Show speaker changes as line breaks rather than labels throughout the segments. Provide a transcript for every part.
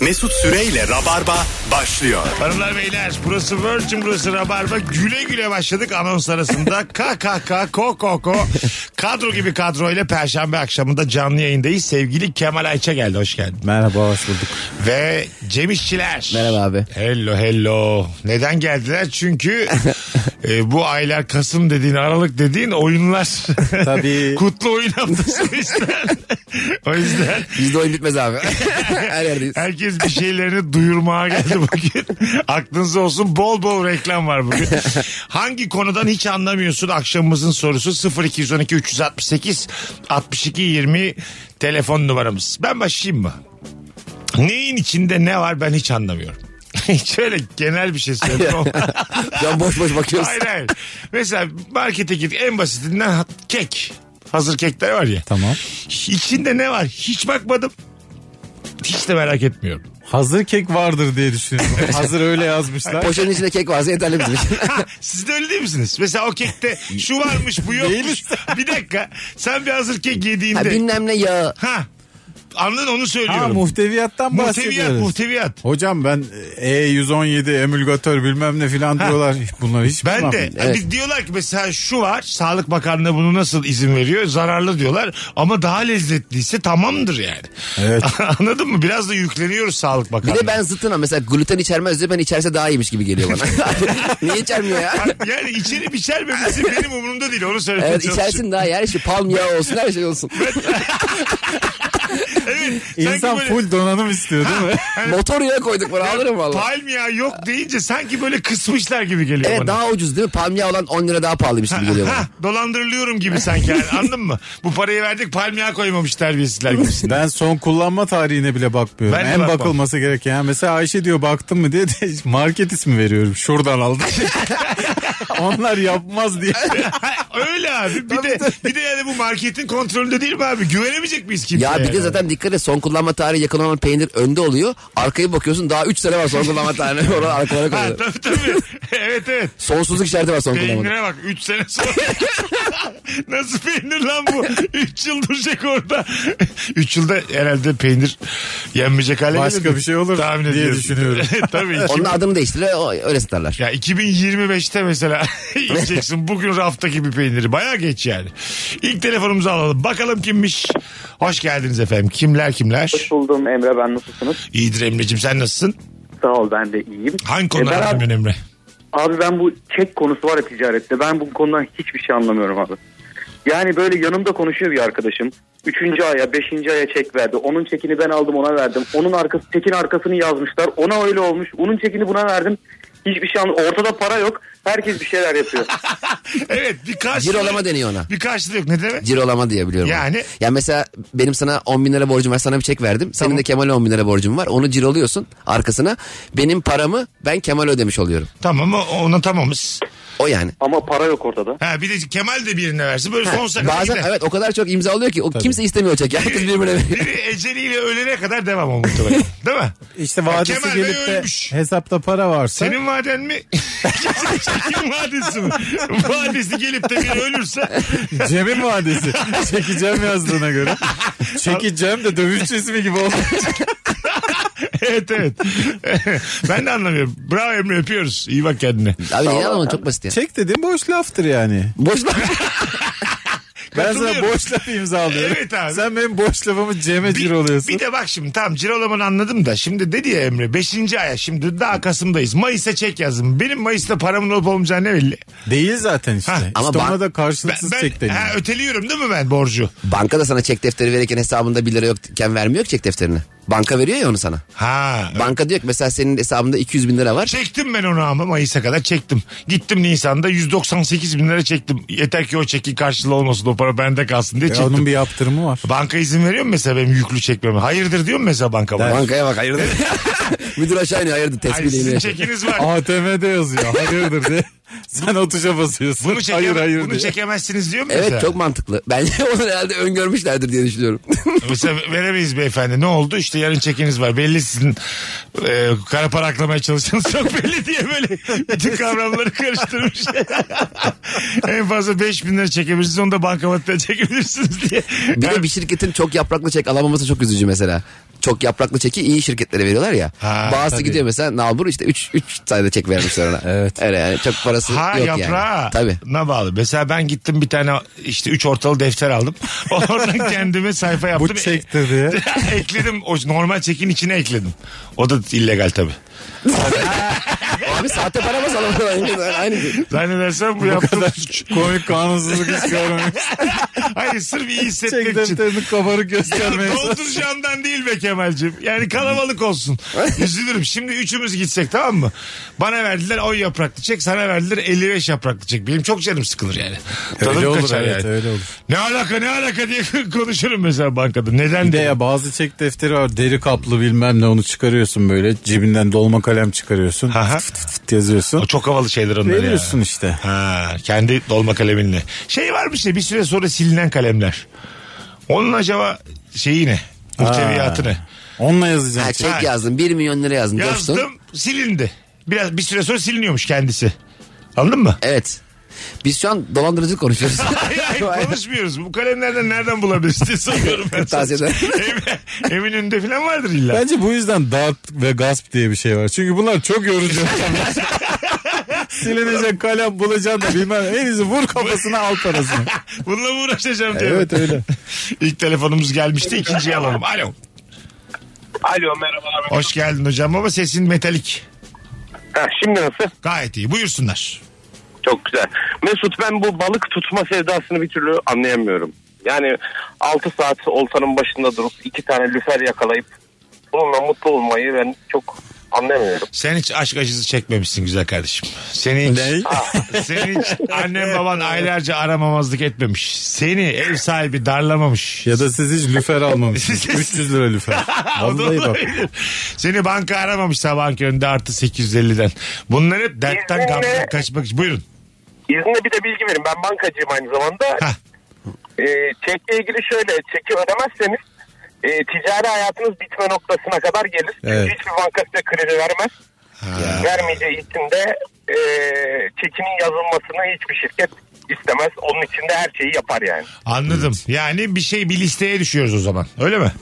Mesut Süreyle Rabarba başlıyor.
Hanımlar beyler burası Virgin burası Rabarba güle güle başladık anons arasında KKK KOKOKO kadro gibi kadroyla perşembe akşamında canlı yayındayız sevgili Kemal Ayça geldi hoş geldin
Merhaba hoş bulduk.
ve Cem İşçiler
Merhaba abi.
hello hello neden geldiler çünkü e, bu aylar Kasım dediğin Aralık dediğin oyunlar
Tabii.
kutlu oyun haftası o yüzden o yüzden
Bizde oyun bitmez abi. Her yerdeyiz.
Herkes bir şeylerini duyurmaya geldi bugün. Aklınız olsun bol bol reklam var bugün. Hangi konudan hiç anlamıyorsun akşamımızın sorusu 0212 368 62 20 telefon numaramız. Ben başlayayım mı? Neyin içinde ne var ben hiç anlamıyorum. Şöyle genel bir şey söyleyeyim. ama-
Ya boş boş bakıyoruz.
Hayır hayır. Mesela markete git en basitinden ha- kek. Hazır kekler var ya.
Tamam.
İçinde ne var hiç bakmadım. Hiç de merak etmiyorum.
Hazır kek vardır diye düşünüyorum. Hazır öyle yazmışlar.
Poşetin içinde kek varsa yeterli bizim için.
Siz de öyle değil misiniz? Mesela o kekte şu varmış bu yokmuş.
Değiliz.
bir dakika sen bir hazır kek yediğinde.
Ha,
Ha,
bilmem ne ya.
anladın onu
Ha
söylüyorum.
muhteviyattan
muhteviyat
bahsediyoruz.
muhteviyat.
Hocam ben e, E117 emülgatör bilmem ne filan diyorlar. Bunlar hiç
Ben
bilmem.
de
Evet.
biz diyorlar ki mesela şu var Sağlık Bakanlığı bunu nasıl izin veriyor zararlı diyorlar ama daha lezzetliyse tamamdır yani.
Evet.
Anladın mı? Biraz da yükleniyoruz Sağlık
Bir
Bakanlığı.
de ben zıtına mesela gluten içermez diyor ben içerse daha iyiymiş gibi geliyor bana. Niye içermiyor ya?
Yani içeri içermemesi benim umurumda değil onu söylemeye
Evet
çalışıyorum.
içersin daha iyi. Her şey palm yağı olsun her şey olsun.
Evet, sanki
İnsan
böyle-
full donanım istiyor değil mi?
Motor yağı koyduk bana alırım valla.
Palm yağı yok deyince sanki böyle kısmışlar gibi geliyor
Evet
bana.
daha ucuz değil mi? Palm yağı olan 10 lira daha pahalıymış gibi geliyor
Ha,
bana.
dolandırılıyorum gibi sanki yani, anladın mı? Bu parayı verdik palmiye koymamış terbiyesizler gibisin.
Ben son kullanma tarihine bile bakmıyorum.
Ben de
en
bakmam.
bakılması gereken. Mesela Ayşe diyor baktın mı diye de market ismi veriyorum. Şuradan aldım. Onlar yapmaz diye.
Öyle abi. Bir de bir de yani bu marketin kontrolünde değil mi abi? Güvenemeyecek miyiz kimseye?
Ya bir de
yani?
zaten dikkat et son kullanma tarihi yakın olan peynir önde oluyor. Arkaya bakıyorsun daha 3 sene var son kullanma tarihi. Oradan arkalara
Ha,
koyuyor.
tabii tabii. evet evet.
Sonsuzluk işareti var son kullanma.
Peynire bak 3 sene sonra. Nasıl peynir lan bu? 3 yıl duracak orada. 3 yılda herhalde peynir yenmeyecek hale
Başka
gelir mi?
bir şey olur
Tahmin
diye
ediyorum.
düşünüyorum.
tabii. iki-
Onun adını değiştirir o- öyle satarlar.
Ya 2025'te mesela yiyeceksin bugün raftaki bir peyniri. Baya geç yani. İlk telefonumuzu alalım. Bakalım kimmiş. Hoş geldiniz efendim. Kimler kimler?
Hoş buldum Emre ben nasılsınız?
İyidir Emre'cim sen nasılsın?
Sağ ol ben de iyiyim.
Hangi
E,
konuda
ben abi,
aradın Emre?
abi ben bu çek konusu var ya ticarette ben bu konudan hiçbir şey anlamıyorum abi. Yani böyle yanımda konuşuyor bir arkadaşım. Üçüncü aya, beşinci aya çek verdi. Onun çekini ben aldım ona verdim. Onun arkası, çekin arkasını yazmışlar. Ona öyle olmuş. Onun çekini buna verdim. Hiçbir şey anlamıyorum. Ortada para yok. Herkes bir şeyler yapıyor.
Evet bir karşılığı.
Cirolama deniyor ona.
Bir karşılığı yok ne demek?
Cirolama diye biliyorum.
Yani?
onu. Ya mesela benim sana 10 bin lira borcum var sana bir çek verdim. Senin de Kemal'e 10 bin lira borcum var. Onu ciroluyorsun arkasına. Benim paramı ben Kemal'e ödemiş oluyorum.
Tamam o- ona tamamız.
O yani.
Ama para yok ortada.
Ha bir de Kemal de birine versin. Böyle son sakın
Bazen evet o kadar çok imza oluyor ki o kimse istemiyor o çeki. Herkes birbirine veriyor.
Biri eceliyle ölene kadar devam o muhtemelen. Değil mi?
İşte vadesi
Kemal Bey
gelip de
ölmüş.
hesapta para varsa.
Senin vaden mi? Çekin vadesi mi? Vadesi gelip de biri ölürse
Cem'in vadesi. Çekeceğim yazdığına göre. Çekeceğim de dövüşçü ismi gibi oldu.
evet evet. ben de anlamıyorum. Bravo Emre öpüyoruz. İyi bak kendine.
Abi niye anlamadın çok basit ya.
Çek dediğim boş laftır yani.
Boş bak.
Ben
Katılıyorum.
sana boş laf imzalıyorum.
Evet abi.
Sen benim boş lafımı Cem'e
Bir,
cir oluyorsun.
bir de bak şimdi tamam Cirolom'unu anladım da şimdi dedi ya Emre 5. aya şimdi daha Kasım'dayız. Mayıs'a çek yazdım. Benim Mayıs'ta paramın olup olmayacağı ne belli?
Değil zaten işte.
Ha,
ama
işte
ben-
ona da
Ben,
karşılıksız çek
ben
deniyor.
ha, öteliyorum değil mi ben borcu?
Bankada sana çek defteri verirken hesabında 1 lira yokken vermiyor ki çek defterini. Banka veriyor ya onu sana.
Ha.
Banka diyor ki mesela senin hesabında 200 bin lira var.
Çektim ben onu ama Mayıs'a kadar çektim. Gittim Nisan'da 198 bin lira çektim. Yeter ki o çekin karşılığı olmasın o para bende kalsın diye
E,
çektim.
onun bir yaptırımı var.
Banka izin veriyor mu mesela benim yüklü çekmeme? Hayırdır diyor mu mesela banka bana?
Bankaya bak hayırdır. Müdür aşağı iniyor hayırdır
Hayır,
tesbih
sizin
iniyor.
çekiniz var.
ATM'de yazıyor. Hayırdır diye. Sen o tuşa basıyorsun.
Bunu, çekeme-
hayır hayır
bunu
diye.
çekemezsiniz diyor mu
Evet
mesela?
çok mantıklı. Bence onu herhalde öngörmüşlerdir diye düşünüyorum.
Mesela veremeyiz beyefendi. Ne oldu? İşte yarın çekiniz var. Belli sizin e, kara para aklamaya çalıştığınız çok belli diye böyle bütün kavramları karıştırmış. en fazla 5 bin lira çekebilirsiniz. Onu da bankamatta çekebilirsiniz diye.
Bir
Yani-
de bir şirketin çok yapraklı çek alamaması çok üzücü mesela. Çok yapraklı çeki iyi şirketlere veriyorlar ya.
Ha,
Bazısı
tabii.
gidiyor mesela nalbur işte 3 3 sayede çek vermişler ona.
Evet.
Öyle yani çok parası
Ha
şey yok
yaprağı.
yani. Tabii.
Ne bağlı. Mesela ben gittim bir tane işte üç ortalı defter aldım. Oradan kendime sayfa yaptım.
Bu çekti diye.
ekledim. O normal çekin içine ekledim. O da illegal tabii.
Abi sahte para mı alamıyorlar? Aynı şey.
Zannedersem bu
Bu
yaptığım
kadar
suç.
komik kanunsuzluk hiç görmemiş.
Hayır sırf iyi hissetmek
Çek
için.
defterini kabarık göstermeye
Dolduracağımdan değil be Kemal'cim. Yani kalabalık olsun. Üzülürüm. Şimdi üçümüz gitsek tamam mı? Bana verdiler 10 yapraklı çek. Sana verdiler 55 yapraklı çek. Benim çok canım sıkılır yani. Tadım
Öyle olur
kaçar
evet
yani.
öyle olur.
Ne alaka ne alaka diye konuşurum mesela bankada. Neden
Bir de
diye.
ya bazı çek defteri var deri kaplı bilmem ne onu çıkarıyorsun böyle cebinden dolma kalem çıkarıyorsun
Aha.
fıt fıt fıt yazıyorsun
O çok havalı şeyler onlar ya.
veriyorsun işte.
Ha, kendi dolma kaleminle. Şey varmış ya bir süre sonra silinen kalemler. Onun acaba şeyi ne? Muhteviyatı ne?
Onunla yazacaksın.
Ha,
çek.
çek yazdım 1 milyon lira yazdım.
Yazdım
Coştun.
silindi. Biraz bir süre sonra siliniyormuş kendisi. Anladın mı?
Evet. Biz şu an dolandırıcılık konuşuyoruz.
Hayır hayır konuşmuyoruz. Bu kalemlerden nereden bulabiliriz diye soruyorum ben. sana.
Tavsiye ederim.
Emin- Eminönü'nde falan vardır illa.
Bence bu yüzden dağıt ve gasp diye bir şey var. Çünkü bunlar çok yorucu. Silinecek kalem bulacaksın da bilmem. En iyisi vur kafasına al parasını.
Bununla mı uğraşacağım diye.
evet öyle.
İlk telefonumuz gelmişti. ikinciyi alalım. Alo.
Alo merhaba abi.
Hoş geldin hocam ama sesin metalik.
Ha, şimdi nasıl?
Gayet iyi. Buyursunlar.
Çok güzel. Mesut ben bu balık tutma sevdasını bir türlü anlayamıyorum. Yani 6 saat oltanın başında durup iki tane lüfer yakalayıp bununla mutlu olmayı ben çok anlayamıyorum.
Sen hiç aşk acısı çekmemişsin güzel kardeşim. Seni hiç,
Ne?
seni hiç annen baban aylarca aramamazlık etmemiş. Seni ev sahibi darlamamış.
Ya da siz hiç lüfer almamışsınız. 300 lira lüfer.
O da
Vallahi bak.
olabilir. Seni banka aramamış sabahın köründe artı 850'den. Bunlar hep dertten
İzninle-
gamdan kaçmak için. Buyurun.
İzninle bir de bilgi verin. Ben bankacıyım aynı zamanda.
Hah.
Ee, çekle ilgili şöyle çeki ödemezseniz e, ticari hayatınız bitme noktasına kadar gelir.
Evet.
Çünkü hiçbir banka size kredi vermez. Vermeyeceği için de e, çekinin yazılmasını hiçbir şirket istemez. Onun için de her şeyi yapar yani.
Anladım. Yani bir şey bir listeye düşüyoruz o zaman. Öyle mi?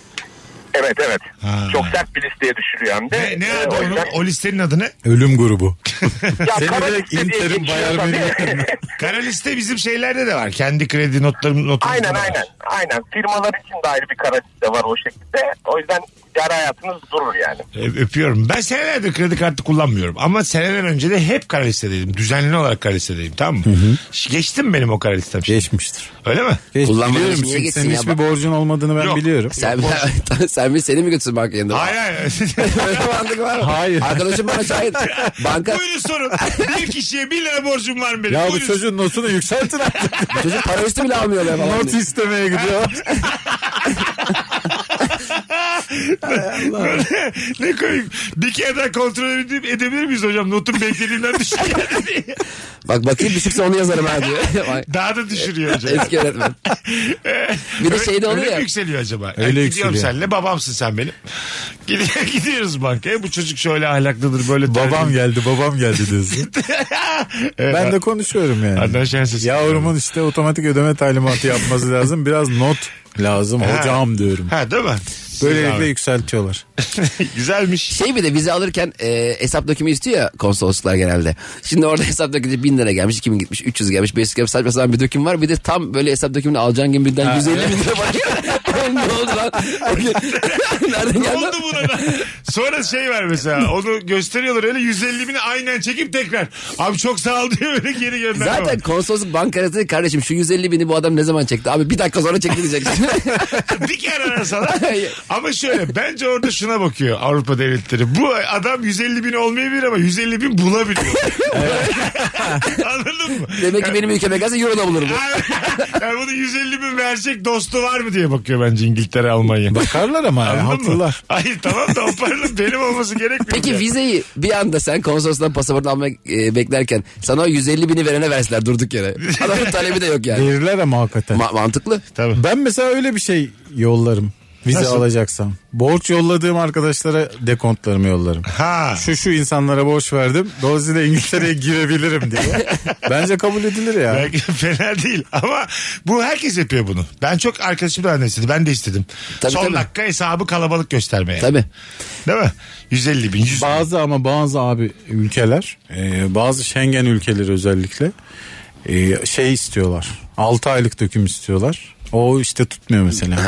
Evet evet.
Ha.
Çok sert bir listeye düşürüyor hem de.
Ne, ne
Ee,
adı
o
onun?
yüzden-
O listenin adı ne?
Ölüm grubu.
Ya
Seni
kara
direkt
liste diye
interim
geçiyor
bayar
tabii.
veriyor.
Kara liste bizim şeylerde de var. Kendi kredi notlarım notumuzda
aynen
da var.
aynen. Aynen. Firmalar için de ayrı bir kara liste var o şekilde. O yüzden ticari hayatınız durur yani.
Ö- Öpüyorum. Ben senelerdir kredi kartı kullanmıyorum. Ama seneler önce de hep kara listedeydim. Düzenli olarak kara listedeydim. Tamam mı? Ş- Geçtim benim o kara listem.
Geçmiştir.
Öyle mi?
Geç,
Kullanmadığın
biliyorum
için niye
çünkü
geçsin
senin
ya?
hiçbir borcun olmadığını ben
Yok.
biliyorum.
sen, sen bir seni mi götürsün banka yanında?
Hayır hayır.
Böyle bir mantık var mı?
Hayır.
Arkadaşım bana şahit. Banka
Buyurun sorun. Bir kişiye bir lira borcum var mı benim?
Ya bu
Buyurun.
çocuğun notunu yükseltin artık.
çocuk para üstü bile almıyorlar falan.
Not istemeye gidiyor.
ne koyayım? Bir kere daha kontrol edip- edebilir miyiz hocam? Notum beklediğinden düşük geldi diye.
Bak bakayım düşükse onu yazarım ha diyor. Vay,
Daha da düşürüyor hocam.
Eski öğretmen. E, Bir de
Öyle-
şey de oluyor
öyle mi
ya.
yükseliyor acaba?
Öyle
Öyle gidiyorum
yükseliyor.
senle babamsın sen benim. Gidiyor, gidiyoruz bankaya. Bu çocuk şöyle ahlaklıdır böyle.
babam geldi babam geldi diyorsun. ben de konuşuyorum yani.
Adnan Şenses.
Yavrumun işte otomatik ödeme talimatı yapması lazım. Biraz not lazım hocam diyorum.
Ha değil mi?
Böylelikle
Abi.
yükseltiyorlar.
Güzelmiş.
Şey bir de vize alırken e, hesap dökümü istiyor ya konsolosluklar genelde. Şimdi orada hesap dökümü 1000 lira gelmiş, 2000 gitmiş, 300 gelmiş, 500 gelmiş saçma sapan bir döküm var. Bir de tam böyle hesap dökümünü alacağın gibi birden 150 bin lira var. Oğlum ne oldu lan? Nereden
Ne
geldi?
oldu buna da? Sonra şey var mesela onu gösteriyorlar öyle 150 bini aynen çekip tekrar. Abi çok sağ ol diye böyle geri gönderme. var.
Zaten konsolosluk bankarası dedi, kardeşim şu 150 bini bu adam ne zaman çekti? Abi bir dakika sonra çekilecek.
bir kere arasalar. Ama şöyle bence orada şuna bakıyor Avrupa devletleri. Bu adam 150 bin olmayabilir ama 150 bin bulabiliyor. Anladın mı?
Demek ki benim ülkeme gelse euro da bulurum.
yani bunu 150 bin verecek dostu var mı diye bakıyor bence İngiltere Almanya.
Bakarlar ama ya,
Anladın mı?
haklılar.
Hayır tamam da o paranın benim olması gerekmiyor.
Peki
yani.
vizeyi bir anda sen konsolosdan pasaport almak e, beklerken sana o 150 bini verene verseler durduk yere. Adamın talebi de yok yani.
Verirler ama hakikaten.
Ma- mantıklı.
Tabii.
Ben mesela öyle bir şey yollarım. Vize
Nasıl?
alacaksam. Borç yolladığım arkadaşlara dekontlarımı yollarım.
Ha.
Şu şu insanlara borç verdim. Dolayısıyla İngiltere'ye girebilirim diye. Bence kabul edilir ya.
Belki fena değil ama bu herkes yapıyor bunu. Ben çok arkadaşım da öyle istedi. Ben de istedim.
Tabii,
Son
tabii.
dakika hesabı kalabalık göstermeye.
Tabii.
Değil mi? 150 bin. 100 bin.
Bazı ama bazı abi ülkeler e, bazı Schengen ülkeleri özellikle e, şey istiyorlar. 6 aylık döküm istiyorlar. O işte tutmuyor mesela.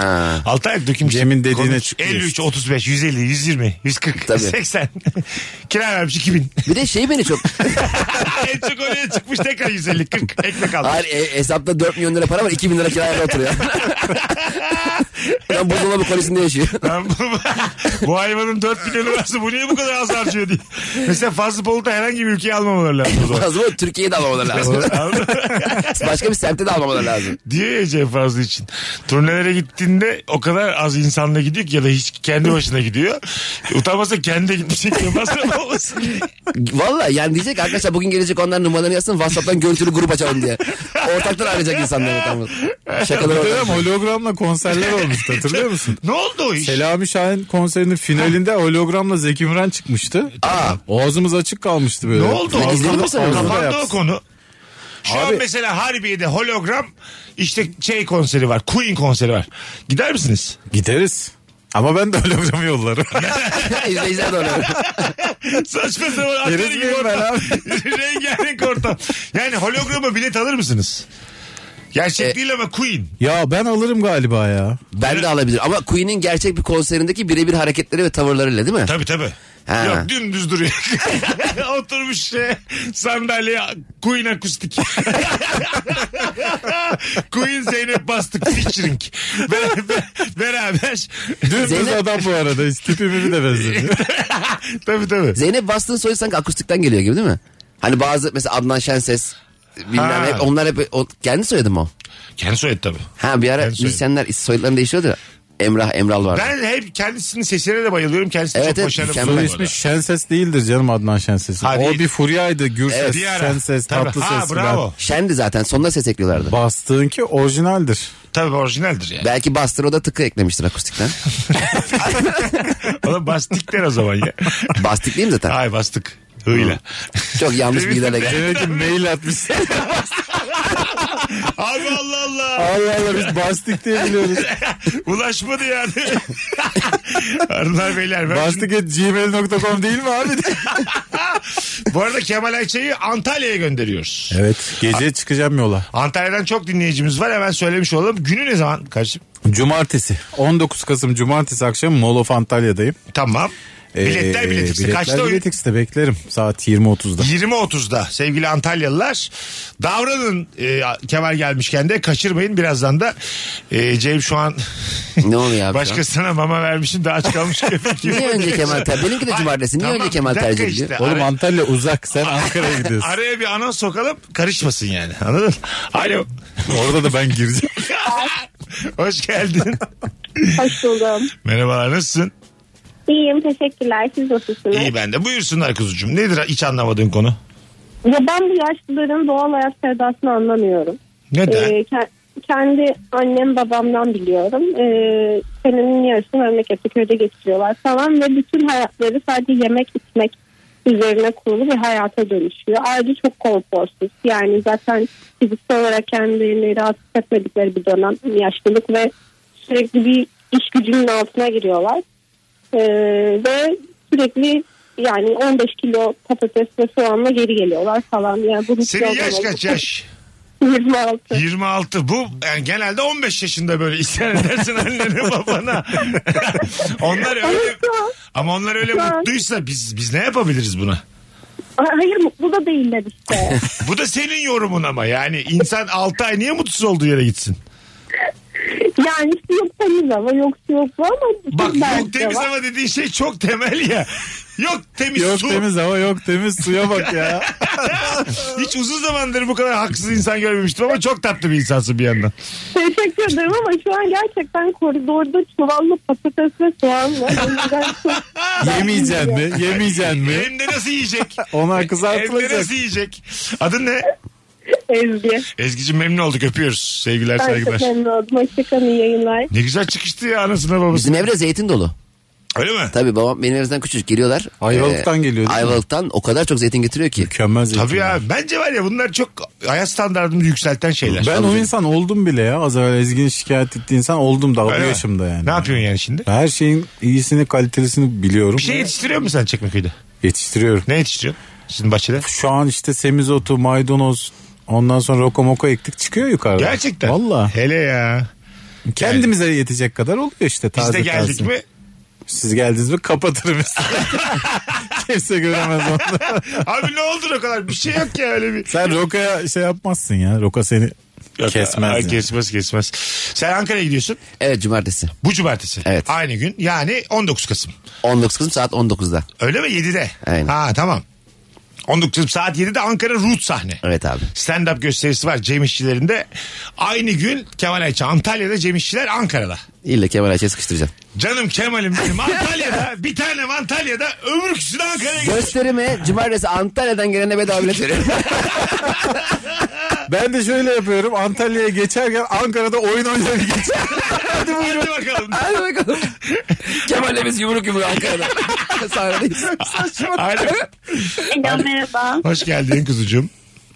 Altı aylık döküm.
Cem'in dediğine
Konuş.
çıkıyor
53,
işte.
35, 150, 120, 140,
Tabii.
80. Kira vermiş 2000.
Bir de şey beni çok...
en çok oraya çıkmış tekrar 150, 40. Ekmek almış.
Hayır e, hesapta 4 milyon lira para var 2000 lira kiraya oturuyor. Lan buzdolabı kolisinde yaşıyor.
Ben bu, bu hayvanın 4 milyonu varsa bu niye bu kadar az harcıyor diye. Mesela fazla Bolu'da herhangi bir ülkeyi almamaları lazım. o zaman.
Lazım ama Türkiye'yi de almamaları lazım.
Anladın mı?
Başka bir semtte de almamaları lazım.
Diyor ya Cem Fazlı için. Turnelere gittiğinde o kadar az insanla gidiyor ki ya da hiç kendi başına gidiyor. Utanmasa kendi de gitmeyecek diye masraf olmasın.
Valla yani diyecek arkadaşlar bugün gelecek onlar numaralarını yazsın WhatsApp'tan görüntülü grup açalım diye. Ortaktan arayacak insanları tam. Şakaları
Bir dönem
ortak.
hologramla konserler olmuştu hatırlıyor musun?
ne oldu o iş?
Selami Şahin konserinin finalinde hologramla Zeki Müren çıkmıştı.
Aa,
Ağzımız açık kalmıştı böyle.
E, Ne oldu?
Ağzını-
İzledin mi sen onu?
ağzını da
Kapandı o
yapsın.
konu. Şu an
Abi-
mesela Harbiye'de hologram işte şey konseri var. Queen konseri var. Gider misiniz?
Gideriz. Ama ben de hologramı yollarım.
izleyiciler de öyle.
Saçma sapan atölye gibi
miyim ben
ortam. Rengarenk ortam. Yani holograma bilet alır mısınız? Gerçek
E-
değil ama Queen.
ya ben alırım galiba ya.
Ben de alabilirim ama Queen'in gerçek bir konserindeki birebir hareketleri ve tavırlarıyla değil mi?
Tabii tabii.
Ha.
Yok dümdüz duruyor. Oturmuş şey, sandalyeye Queen akustik. Queen Zeynep Bastık featuring. Beraber. beraber.
Dümdüz
Zeynep-
adam bu arada. Hiç tipimi de benzemiyor.
tabii tabii.
Zeynep Bastık'ın soyu sanki akustikten geliyor gibi değil mi? Hani bazı mesela Adnan Şenses bilmem
Ha.
hep onlar hep o, kendi soyadı mı o?
Kendi soyadı tabii.
Ha bir ara
Kendi soyadı.
müzisyenler soyadlarını değiştiriyordu ya. Emrah Emral vardı.
Ben hep kendisinin sesine de bayılıyorum. Kendisi
Evet,
çok
evet,
başarılı.
mükemmel.
bu
Soy
arada.
ismi Şenses değildir canım Adnan Şenses.
Ha,
o
değil.
bir furyaydı. Gürses,
Evet, bir ara.
Şenses,
Tabii.
tatlı
Ha,
ses.
bravo.
Şendi zaten sonuna ses ekliyorlardı.
Bastığın ki orijinaldir.
Tabii orijinaldir yani.
Belki Bastır o da tıkı eklemiştir akustikten.
Oğlum bastık der o zaman ya.
Bastik değil mi zaten?
Ay bastık. Hıyla.
Çok yanlış
Değil mi?
bilgilerle geldi.
Demek ki mail atmış.
Abi Allah Allah.
Allah Allah biz bastık diye biliyoruz.
Ulaşmadı yani. Arınlar beyler. Ben
bastık et gmail.com değil mi abi?
şimdi- bu arada Kemal Ayça'yı Antalya'ya gönderiyoruz.
evet. Gece çıkacağım yola.
Antalya'dan çok dinleyicimiz var. Hemen söylemiş olalım. Günü ne zaman? Karşı.
Cumartesi. 19 Kasım Cumartesi akşamı Mall of Antalya'dayım.
Tamam. Biletler
Ee,
bilet X'te. Kaçta oyun?
Bilet X'te beklerim. Saat 20.30'da.
20.30'da sevgili Antalyalılar davranın e, Kemal gelmişken de kaçırmayın birazdan da e, Cem şu an
Ne oluyor abi şu an?
başkasına mama vermişim daha aç kalmış köpek gibi.
Niye önce Kemal tercih- benimki de
Ay,
cumartesi. Niye önce
bir
Kemal
dakika
tercih ediliyor?
Oğlum
Ara-
Antalya uzak. Sen Ankara'ya gidiyorsun.
Araya bir anons sokalım karışmasın yani anladın? Alo
Orada da ben gireceğim.
hoş geldin.
Hoş buldum.
Merhabalar nasılsın?
İyiyim teşekkürler. Siz nasılsınız?
İyi ben de buyursunlar kuzucuğum nedir hiç anlamadığın konu?
Ya ben bu yaşlıların doğal hayat sevdasını anlamıyorum.
Neden?
Ee, ke- kendi annem babamdan biliyorum. Ee, senenin yarısını memlekette köyde geçiriyorlar falan ve bütün hayatları sadece yemek içmek üzerine kurulu bir hayata dönüşüyor. Ayrıca çok konforsuz. Yani zaten fiziksel olarak kendilerini rahat hissetmedikleri bir dönem yaşlılık ve sürekli bir iş gücünün altına giriyorlar. Ee, ve sürekli yani 15 kilo patates ve soğanla geri geliyorlar falan. Yani bu hiç
Senin
yoldan
yaş
olmaz.
kaç yaş?
26.
26 bu yani genelde 15 yaşında böyle isyan edersin annene babana. onlar öyle
Evet ya.
ama onlar öyle
Evet.
mutluysa biz biz ne yapabiliriz buna?
Ay, Hayır mutlu da değiller işte.
Bu da senin yorumun ama yani insan 6 ay niye mutsuz olduğu yere gitsin?
Yani işte yok temiz hava yok su yok bu ama
Bak
çok belki
yok
de
temiz
var.
hava dediğin şey çok temel ya. Yok temiz
Yok
su.
temiz hava yok temiz suya bak ya.
Hiç uzun zamandır bu kadar haksız insan görmemiştim ama çok tatlı bir insansın bir yandan.
Teşekkür ederim ama şu an gerçekten koridorda çuvalla patates ve soğan var. O yüzden çok-
Yemeyeceksin mi? Yemeyeceksin mi?
Hem de nasıl yiyecek?
Ona
Hem de
kızartılacak.
nasıl yiyecek? Adın ne?
Ezgi.
Ezgi'cim memnun olduk öpüyoruz. Sevgiler
Ben
saygılar.
çok memnun oldum. Hoşçakalın iyi yayınlar.
Ne güzel çıkıştı ya anasına babasına.
Bizim evde zeytin dolu.
Öyle mi?
Tabii babam benim evimden küçücük geliyorlar.
Ayvalık'tan geliyor değil mi?
Ayvalık'tan o kadar çok zeytin getiriyor ki.
Mükemmel zeytin.
Tabii ya bence var ya bunlar çok hayat standartımızı yükselten şeyler.
Ben o insan oldum bile ya. Az evvel Ezgi'nin şikayet ettiği insan oldum da bu
Öyle mi?
yaşımda yani.
Ne yapıyorsun yani şimdi?
Her şeyin iyisini kalitesini biliyorum.
Bir şey yetiştiriyor musun sen Çekmeköy'de?
Yetiştiriyorum.
Ne yetiştiriyorsun? Sizin bahçede?
Şu an işte semizotu, maydanoz ondan sonra rokomoko ektik çıkıyor yukarıda.
Gerçekten.
Valla.
Hele ya.
Kendimize yetecek kadar oluyor işte taze
Biz de geldik
taze.
mi?
Siz geldiniz mi kapatırım Kimse göremez onu.
Abi ne oldu o kadar? Bir şey yok ya öyle bir.
Sen rokaya şey yapmazsın ya. Roka seni kesmez.
Ay,
yani.
Kesmez kesmez. Sen Ankara'ya gidiyorsun.
Evet cumartesi.
Bu cumartesi.
Evet.
Aynı gün. Yani 19 Kasım.
19 Kasım saat 19'da.
Öyle mi? 7'de.
Aynen.
Ha tamam. 19 Kasım saat 7'de Ankara Root sahne.
Evet abi.
Stand-up gösterisi var Cem İşçilerinde. Aynı gün Kemal Ayça Antalya'da Cem İşçiler Ankara'da.
İlle Kemal Ayça'ya sıkıştıracağım.
Canım Kemal'im benim Antalya'da bir tane Antalya'da öbür kişi de Ankara'ya gidiyor.
Gösterime cumartesi Antalya'dan gelene bedava bilet veriyorum.
Ben de şöyle yapıyorum. Antalya'ya geçerken Ankara'da oyun oynayıp geçiyorum.
Hadi bakalım.
Hadi bakalım. Kemal'le biz yumruk yumruğa Ankara'da. Sahnedeyiz.
Aynen.
Alo merhaba.
Hoş geldin kuzucuğum.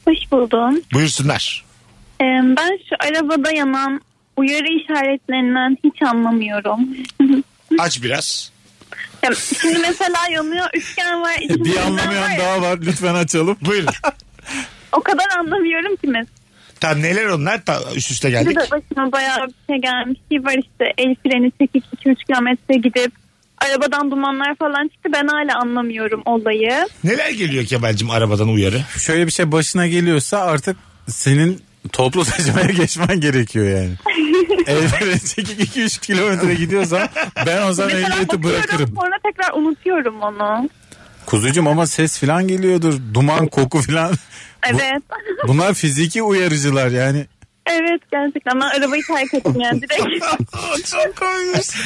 Hoş buldum.
Buyursunlar.
Ee, ben şu arabada yanan uyarı işaretlerinden hiç anlamıyorum.
Aç biraz.
Ya, Şimdi mesela yanıyor üçgen var.
E,
içinde
E, Bir
üçgen var
anlamayan
ya.
daha var. Lütfen açalım.
Buyurun.
O kadar anlamıyorum ki mesela.
Tam neler onlar? Ta- üst üste
Bir
geldik.
de başıma bayağı bir şey gelmiş ki var işte el freni çekip 2-3 kilometre gidip arabadan dumanlar falan çıktı. Ben hala anlamıyorum olayı.
Neler geliyor Kemal'cim arabadan uyarı?
Şöyle bir şey başına geliyorsa artık senin toplu taşımaya geçmen gerekiyor yani. Elbette çekip 2-3 kilometre gidiyorsan ben o zaman
Mesela
ehliyeti
bakıyorum,
bırakırım.
Sonra tekrar unutuyorum onu.
Kuzucuğum ama ses filan geliyordur. Duman, koku filan. Bu-
Evet.
bunlar fiziki uyarıcılar yani.
evet gerçekten ben arabayı terk ettim yani direkt.
Çok komik.
şey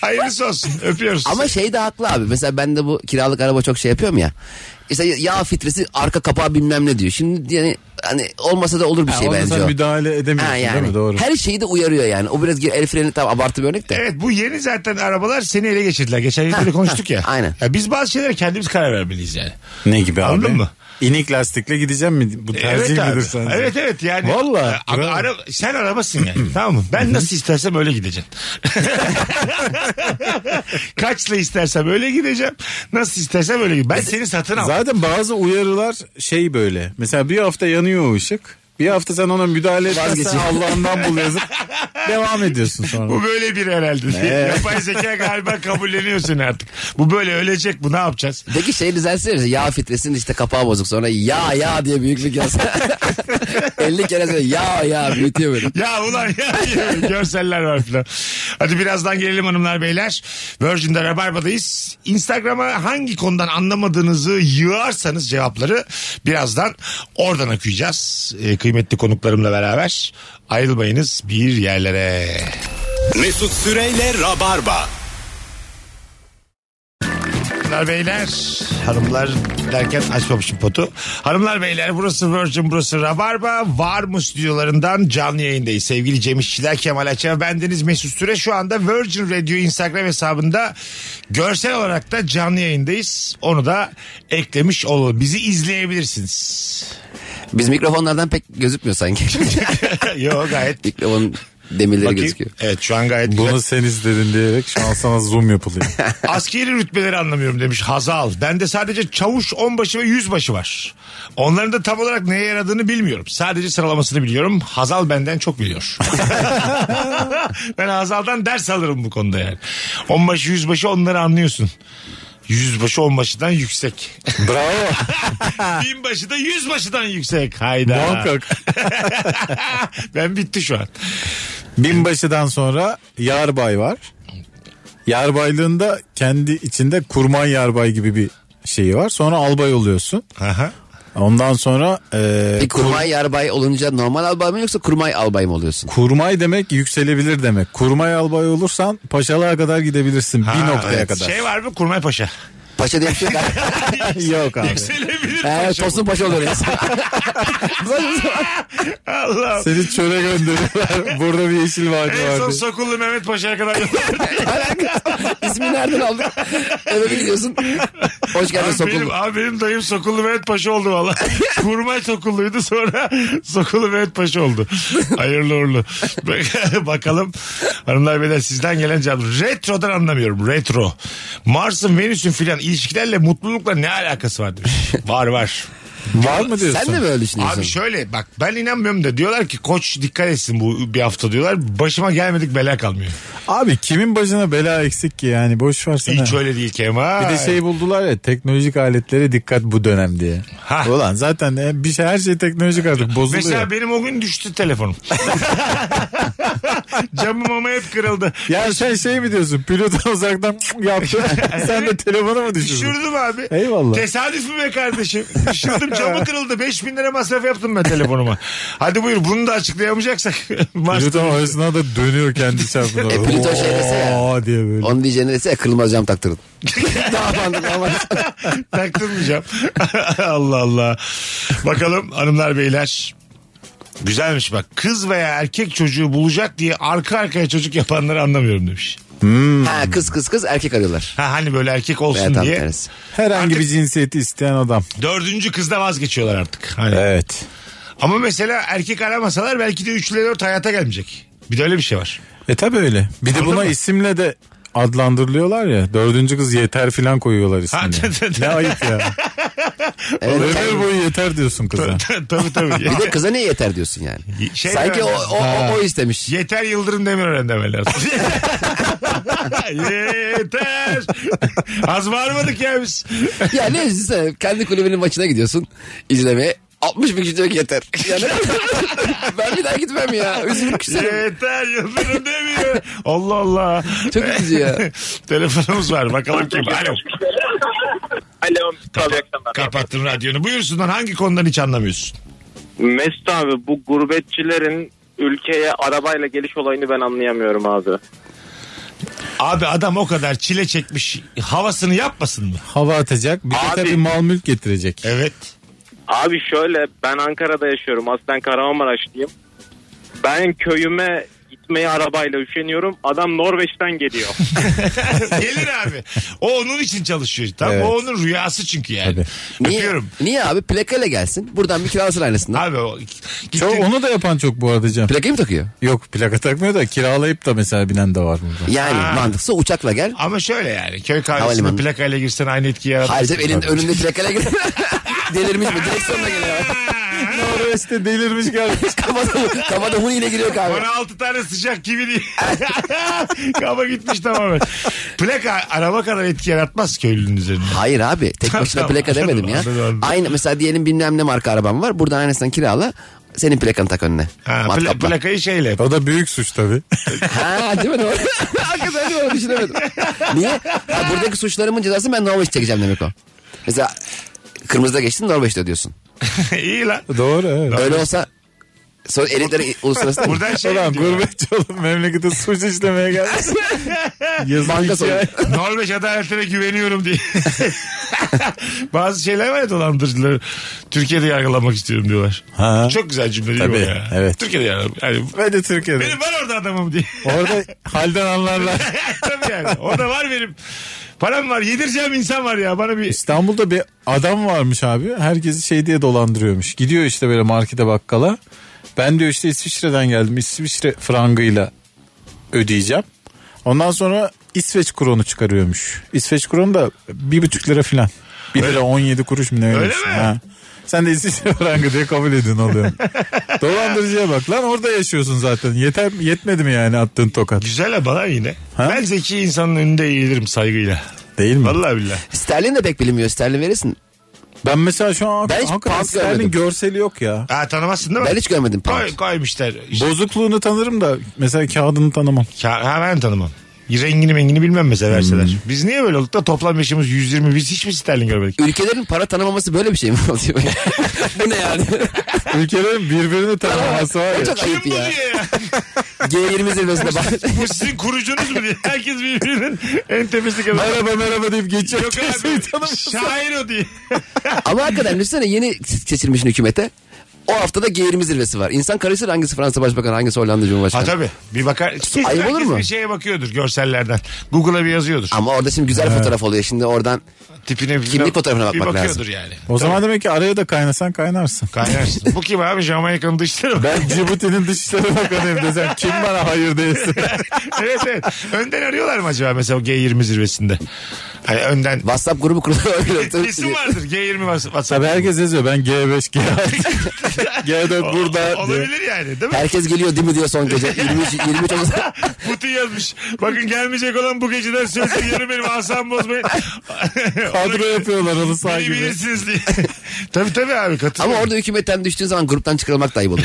Hayırlısı olsun. Öpüyoruz.
Ama şey de haklı abi. Mesela ben de bu kiralık araba çok şey yapıyorum ya. İşte yağ filtresi arka kapağı bilmem ne diyor. Şimdi yani hani olmasa da olur bir şey
Ona
bence
sen
o.
müdahale edemiyorsun
Ha
değil mi?
yani.
Doğru.
Her şeyi de uyarıyor yani. O biraz el freni tam abartı bir örnek de.
Evet bu yeni zaten arabalar seni ele geçirdiler. Geçen yılda da konuştuk ya.
ha, aynen.
Ya biz bazı şeylere kendimiz karar vermeliyiz yani.
Ne gibi abi?
Anladın mı?
İnik lastikle gideceğim mi? Bu tercih
evet
midir
abi.
sence?
Evet evet yani.
Vallahi,
Ya, abi,
bravo.
ara- sen arabasın yani tamam mı? Ben nasıl istersem öyle gideceğim. Kaçla istersem öyle gideceğim. Nasıl istersem öyle gideceğim. Ben seni satın al.
E, Zaten bazı uyarılar şey böyle. Mesela bir hafta yanıyor o ışık. Bir hafta sen ona müdahale etmezsen
Vazgeçiyor.
Allah'ından buluyorsun. Devam ediyorsun sonra.
Bu böyle bir herhalde.
Evet.
Yapay zeka galiba kabulleniyor seni artık. Bu böyle ölecek bu ne yapacağız?
Peki şey düzelsin ya, yağ filtresinin işte kapağı bozuk sonra ya ya diye büyüklük yazsa. 50 kere sonra ya ya büyütüyor böyle.
Ya ulan ya, ya. görseller var filan. Hadi birazdan gelelim hanımlar beyler. Virgin'de Rabarba'dayız. Instagram'a hangi konudan anlamadığınızı yığarsanız cevapları birazdan oradan okuyacağız. Ee, kıymetli konuklarımla beraber ayrılmayınız bir yerlere.
Mesut Süreyle Rabarba.
Hanımlar beyler hanımlar derken açmamışım potu. Hanımlar beyler burası Virgin burası Rabarba. Var mı stüdyolarından canlı yayındayız. Sevgili Cem İşçiler, Kemal Açar bendeniz Mesut Süre. Şu anda Virgin Radio Instagram hesabında görsel olarak da canlı yayındayız. Onu da eklemiş olalım. Bizi izleyebilirsiniz.
Biz mikrofonlardan pek gözükmüyor sanki.
Yo gayet.
Mikrofonun demirleri
Bakayım.
gözüküyor.
Evet şu an gayet güzel.
Bunu sen izledin diyerek şu an sana zoom yapılıyor.
Askeri rütbeleri anlamıyorum demiş Hazal. Bende sadece çavuş, onbaşı ve yüzbaşı var. Onların da tam olarak neye yaradığını bilmiyorum. Sadece sıralamasını biliyorum. Hazal benden çok biliyor. ben Hazal'dan ders alırım bu konuda yani. Onbaşı, yüzbaşı onları anlıyorsun. Yüzbaşı onbaşıdan yüksek.
Bravo.
Binbaşı da yüzbaşıdan yüksek. Hayda.
Muhakkak.
ben bitti şu an.
Binbaşıdan sonra yarbay var. Yarbaylığında kendi içinde kurmay yarbay gibi bir şeyi var. Sonra albay oluyorsun.
Aha.
Ondan sonra e,
Peki
kur-
kurmay yarbay olunca normal albay mı yoksa kurmay albay mı oluyorsun?
kurmay demek yükselebilir demek. Kurmay albay olursan paşalığa kadar gidebilirsin
Ha,
bir noktaya
evet.
kadar.
Şey var mı? Kurmay Paşa.
Paşa diye bir şey var.
Yok abi.
Yükselebilir
He,
paşa.
Tosun paşa oluyor.
Allah.
Seni çöle gönderiyorlar. Burada bir yeşil vadi
En son
vardı.
Sokullu Mehmet Paşa'ya kadar
İsmi nereden aldın? Eve bir gidiyorsun. Hoş geldin
abi, benim,
Sokul.
abi benim dayım Sokullu Mehmet Paşa oldu valla. Kurmay Sokulluydu sonra Sokullu Mehmet Paşa oldu. Hayırlı uğurlu. Bak- Bakalım hanımlar beyler sizden gelen cevap. Retrodan anlamıyorum. Retro. Mars'ın Venüs'ün filan ilişkilerle mutlulukla ne alakası var demiş. Var var.
Var mı diyorsun?
Sen de mi öyle düşünüyorsun?
Abi şöyle bak ben inanmıyorum da diyorlar ki koç dikkat etsin bu bir hafta diyorlar. Başıma gelmedik bela kalmıyor.
Abi kimin başına bela eksik ki yani boş versene.
Hiç öyle değil Kemal.
Bir de şey buldular ya teknolojik aletlere dikkat bu dönem diye.
Ha.
Ulan zaten e, bir şey her şey teknolojik artık bozuluyor.
Mesela benim o gün düştü telefonum. Camım ama hep kırıldı.
Ya sen şey mi diyorsun pilotun uzaktan yaptı sen de telefonu mu düşürdün?
Düşürdüm abi.
Eyvallah.
Tesadüf mü be kardeşim? Düşürdüm camı kırıldı. 5000 lira masraf yaptım ben telefonuma. Hadi buyur bunu da açıklayamayacaksak. Mars-
Pilotun arasına da dönüyor kendi çarpına.
E, pilot o şey dese ya.
Oo diye böyle.
Onun diyeceğine ise kırılmaz cam taktırın. Daha mantıklı ama.
Taktırmayacağım. Allah Allah. Bakalım hanımlar beyler. Güzelmiş bak. Kız veya erkek çocuğu bulacak diye arka arkaya çocuk yapanları anlamıyorum demiş. Hmm.
Ha, kız kız kız erkek arıyorlar.
Ha, hani böyle erkek
Veya
olsun
tam
diye.
tersi.
Herhangi
Artık-
bir cinsiyeti isteyen adam.
Dördüncü kızda vazgeçiyorlar artık. Hani.
Evet.
Ama mesela erkek aramasalar belki de 3 ile 4 hayata gelmeyecek. Bir de öyle bir şey var.
E tabi öyle. Bir de
Anladın
buna
mı?
isimle de adlandırılıyorlar ya. dördüncü kız yeter filan koyuyorlar
Ha,
ismini.
tabii, tabii.
ne ayıp ya.
Evet,
Ömür boyu yeter diyorsun kıza.
tabii tabii.
Bir de kıza niye yeter diyorsun yani?
Şey
Sanki o, o, o, o istemiş.
Yeter Yıldırım Demirören demeler. Yeter. Az varmadık ya biz.
ya ne düşünsene kendi kulübünün maçına gidiyorsun izlemeye. 60 bin kişi diyor ki yeter. Yani ben bir daha gitmem ya. Üzülür küserim.
Yeter Yıldırım Demirören. Allah Allah.
Çok üzücü ya.
Telefonumuz var. Bakalım kim? Alo.
Alo. tabii, akşamlar.
Kapattın radyonu. Buyursunlar hangi konudan hiç anlamıyorsun?
Mesut abi bu gurbetçilerin ülkeye arabayla geliş olayını ben anlayamıyorum abi.
Abi adam o kadar çile çekmiş. Havasını yapmasın mı?
Hava atacak bir de
Abi.
tabii mal mülk getirecek.
Evet.
Abi şöyle ben Ankara'da yaşıyorum. Aslen Kahramanmaraşlıyım. Ben köyüme gitmeye arabayla üşeniyorum. Adam Norveç'ten geliyor.
Gelir abi. O onun için çalışıyor. Tam
Evet.
o onun rüyası çünkü yani.
Niye,
Öpüyorum.
niye abi plakayla gelsin. Buradan bir kiralasın aynasından.
Abi o
Çok,
gittin-
onu da yapan çok bu arada Cem.
Plakayı mı takıyor?
Yok plaka takmıyor da kiralayıp da mesela binen de var burada.
Yani mantıklı uçakla gel.
Ama şöyle yani köy kahvesine
Havalimanı.
plakayla girsen aynı etkiyi yaratır.
Hayır elin önünde plakayla gel. Delirmiş mi? Direksiyonla geliyor.
Norveç'te delirmiş gelmiş.
Kafada, kafada huniyle giriyor kahve.
Bana altı tane sıcak gibi diye. Kaba gitmiş tamamen. Plaka araba kadar etki yaratmaz köylünün üzerinde.
Hayır abi tek
Tamam,
başına
tamam,
plaka
anladım,
demedim ya.
anladım, anladım.
Aynı mesela diyelim bilmem ne marka arabam var. Buradan aynasından kirala. Senin plakanı tak önüne.
Ha, pla-
Matkapla.
plakayı şeyle.
O da büyük suç tabii.
Ha değil mi? Doğru. Hakikaten doğru düşünemedim. Niye? Ha, buradaki suçlarımın cezası ben Norveç çekeceğim demek o. Mesela kırmızıda geçtin Norveç'te ödüyorsun.
İyi lan.
Doğru evet.
Öyle olsa sonra elitleri uluslararası da
Buradan şey
Ulan
gidiyor.
gurbetçi oğlum memlekete suç işlemeye gelmiş.
Banka
Yazık
soyuyor.
ya.
Norveç adaletine güveniyorum diye. Bazı şeyler var ya dolandırıcıları. Türkiye'de yargılanmak istiyorum diyorlar.
Ha.
Çok güzel cümle değil mi
Tabii,
o ya?
evet.
Türkiye'de yargılanmak. Yani
Ve de Türkiye'de.
benim var orada adamım diye.
Orada halden anlarlar.
Tabii yani. Orada var benim. Param var. Yedireceğim insan var ya. Bana bir
İstanbul'da bir adam varmış abi. Herkesi şey diye dolandırıyormuş. Gidiyor işte böyle markete bakkala. Ben diyor işte İsviçre'den geldim. İsviçre frangıyla ödeyeceğim. Ondan sonra İsveç kronu çıkarıyormuş. İsveç kronu da bir buçuk lira filan. Bir lira on yedi kuruş mu ne öyle,
Öyle
bir şey.
mi?
Ha. Sen de İsviçre frangı diye kabul edin oluyorsun. Dolandırıcıya bak lan orada yaşıyorsun zaten. Yeter, yetmedi mi yani attığın tokat?
güzel ama lan yine.
Ha?
Ben zeki insanın önünde eğilirim saygıyla.
Değil mi?
Vallahi billahi.
Sterlin de pek bilinmiyor. Sterlin verirsin.
Ben mesela şu an
Ben hiç
hakikaten
pound
Sterling
görmedim.
görseli yok ya.
Ha, tanımazsın değil mi?
Ben hiç görmedim pound.
Koy, koymuşlar. İşte,
Bozukluğunu tanırım da mesela kağıdını tanımam.
Ka- ha, ben tanımam. Rengini mengini bilmem mesela verseler.
Hmm.
Biz niye böyle olduk da toplam yaşımız 120 biz hiç mi sterlin görmedik?
Ülkelerin para tanımaması böyle bir şey mi oluyor? Bu ne yani?
Ülkelerin birbirini tanıması var ya.
Çok
Kim bu
ayıp
diye
ya.
ya?
G20 zirvesinde bak.
Bu sizin kurucunuz mu diye. Herkes birbirinin en tepesi kadar.
Merhaba merhaba deyip geçiyor.
Yok
Kimseyi
abi.
tanımaz.
Şair o diye.
Ama hakikaten düşünsene yeni seçilmiş hükümete. O haftada G20 zirvesi var. İnsan karışır hangisi Fransa Başbakanı hangisi Hollanda
Ha
Cumhurbaşkanı.
tabii. Bir bakar.
ayıp
Herkes
olur mu?
Bir şeye bakıyordur görsellerden. Google'a bir yazıyordur.
Ama orada şimdi güzel fotoğraf oluyor. Şimdi oradan
Tipine bir-
Kimlik fotoğrafına
bir
bakmak
bakıyordur
lazım.
yani.
O zaman demek ki araya da kaynasan kaynarsın.
Kaynarsın. Bu kim abi? Jamaika'nın dışları. Ben...
Ben Cibuti'nin Dışişleri Bakanıyım desem kim bana hayır değilsin.
evet evet. Önden arıyorlar mı acaba mesela o G20 zirvesinde? Hani önden.
WhatsApp grubu kuruluyor. Tabii
İsim
ki.
vardır G20 was- WhatsApp.
Tabii herkes yazıyor ben G5 G6 G4
O-
burada diye.
Olabilir yani değil mi?
Herkes geliyor değil mi diyor son gece. 23, 23 Ağustos.
Putin yazmış. Bakın gelmeyecek olan bu geceden sözü yarın benim asam bozmayın.
Kadro yapıyorlar onu
Beni
sağ gibi.
bilirsiniz diye. tabii tabii abi
Ama
katılıyorum.
orada hükümetten düştüğün zaman gruptan çıkarılmak da ayıp olur.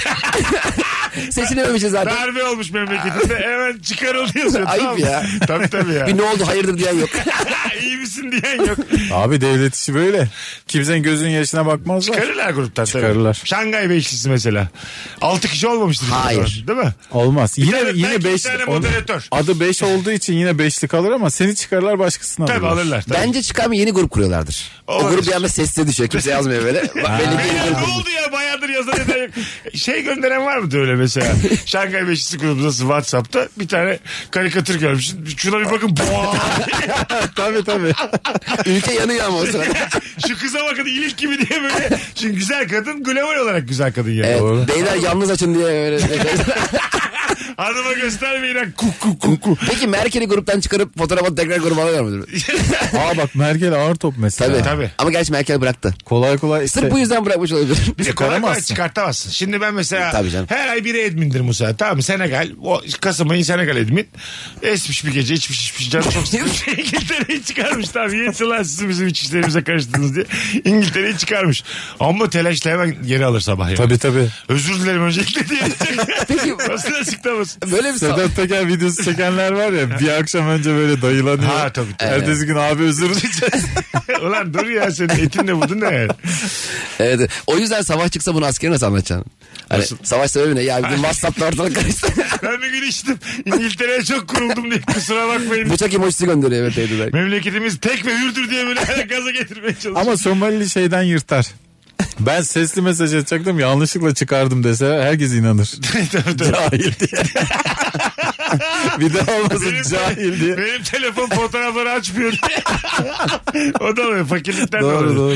Seçilememişiz zaten.
Darbe olmuş memleketinde hemen çıkarıldı yazıyor.
Ayıp
tamam mı?
ya.
Tabii tabii ya.
Bir ne oldu hayırdır diyen yok.
İyi misin diyen yok.
Abi devlet işi böyle. Kimsenin gözünün yaşına bakmazlar.
Çıkarırlar gruptan tabii.
Çıkarırlar.
Şangay Beşlisi mesela. 6 kişi olmamıştır. bizim
Hayır.
zaman, Değil mi?
Olmaz. Yine
tane- belki
yine
bir
5.
tane moderatör.
Adı 5 olduğu için yine 5'li kalır ama seni çıkarırlar başkasına
Tabii alırlar. Tabii.
Bence çıkan bir yeni grup kuruyorlardır. O
Olabilir.
grup bir anda sessize düşüyor. Kimse yazmıyor böyle. Bak, Belli bir yeni
Beyler
grup.
ne oldu ya bayağıdır yazan eden yok. Şey gönderen var mı öyle mesela? Şangay Beşlisi grubundasın Whatsapp'ta bir tane karikatür görmüşsün. Şuna bir bakın. Boğa!
tabii tabii.
Ülke yanıyor ama o sırada.
Şu kıza bakın ilik gibi diye böyle. Çünkü güzel kadın global olarak güzel kadın yani.
Evet, beyler yalnız açın diye böyle.
Hanıma göstermeyin ha. Kuk kuk kuk kuk.
Peki Merkel'i gruptan çıkarıp fotoğrafı tekrar gruba alıyor mudur?
Aa bak Merkel ağır top mesela.
Tabii.
Tabii.
Ama gerçi Merkel bıraktı.
Kolay kolay işte.
Sırf bu yüzden bırakmış olabilir.
Bir de kolay kolay
Çıkaramazsın.
çıkartamazsın. Şimdi ben mesela
E, Tabii canım.
her ay biri Edmin'dir Musa. Tamam mı? Senegal. O, Kasım ayı Senegal Edmin. Esmiş bir gece içmiş içmiş. Canı çok sıkılmış. İngiltere'yi çıkarmış. Tamam yetti lan siz bizim iç işlerimize karıştınız diye. İngiltere'yi çıkarmış. Ama telaşla hemen geri alır sabah ya.
Tabii tabii.
Özür dilerim öncelikle diye.
Peki.
Nasıl açıklaması?
Böyle bir sal-
Sedat Peker videosu çekenler var ya bir akşam önce böyle dayılanıyor.
Ha, tabii, tabii.
Ertesi gün abi özür dileyeceğiz.
Ulan dur ya senin etin de budun ne yani?
Evet. O yüzden savaş çıksa bunu askere nasıl anlatacaksın? Hani savaş sebebi ne? Ya bir gün WhatsApp'ta ortalık karıştı.
Ben bir gün içtim. İngiltere'ye çok kuruldum diye kusura bakmayın.
Bıçak emojisi gönderiyor evet teyzeler.
Memleketimiz tek ve hürdür diye böyle gaza getirmeye çalışıyor.
Ama Somalili şeyden yırtar. Ben sesli mesaj atacaktım yanlışlıkla çıkardım deseler herkes inanır.
Tabii, tabii.
cahil diye. bir daha olmasın
Benim-
cahil diye.
Benim telefon fotoğrafları açmıyor. o da böyle fakirlikten
Doğru,
oluyor.
doğru.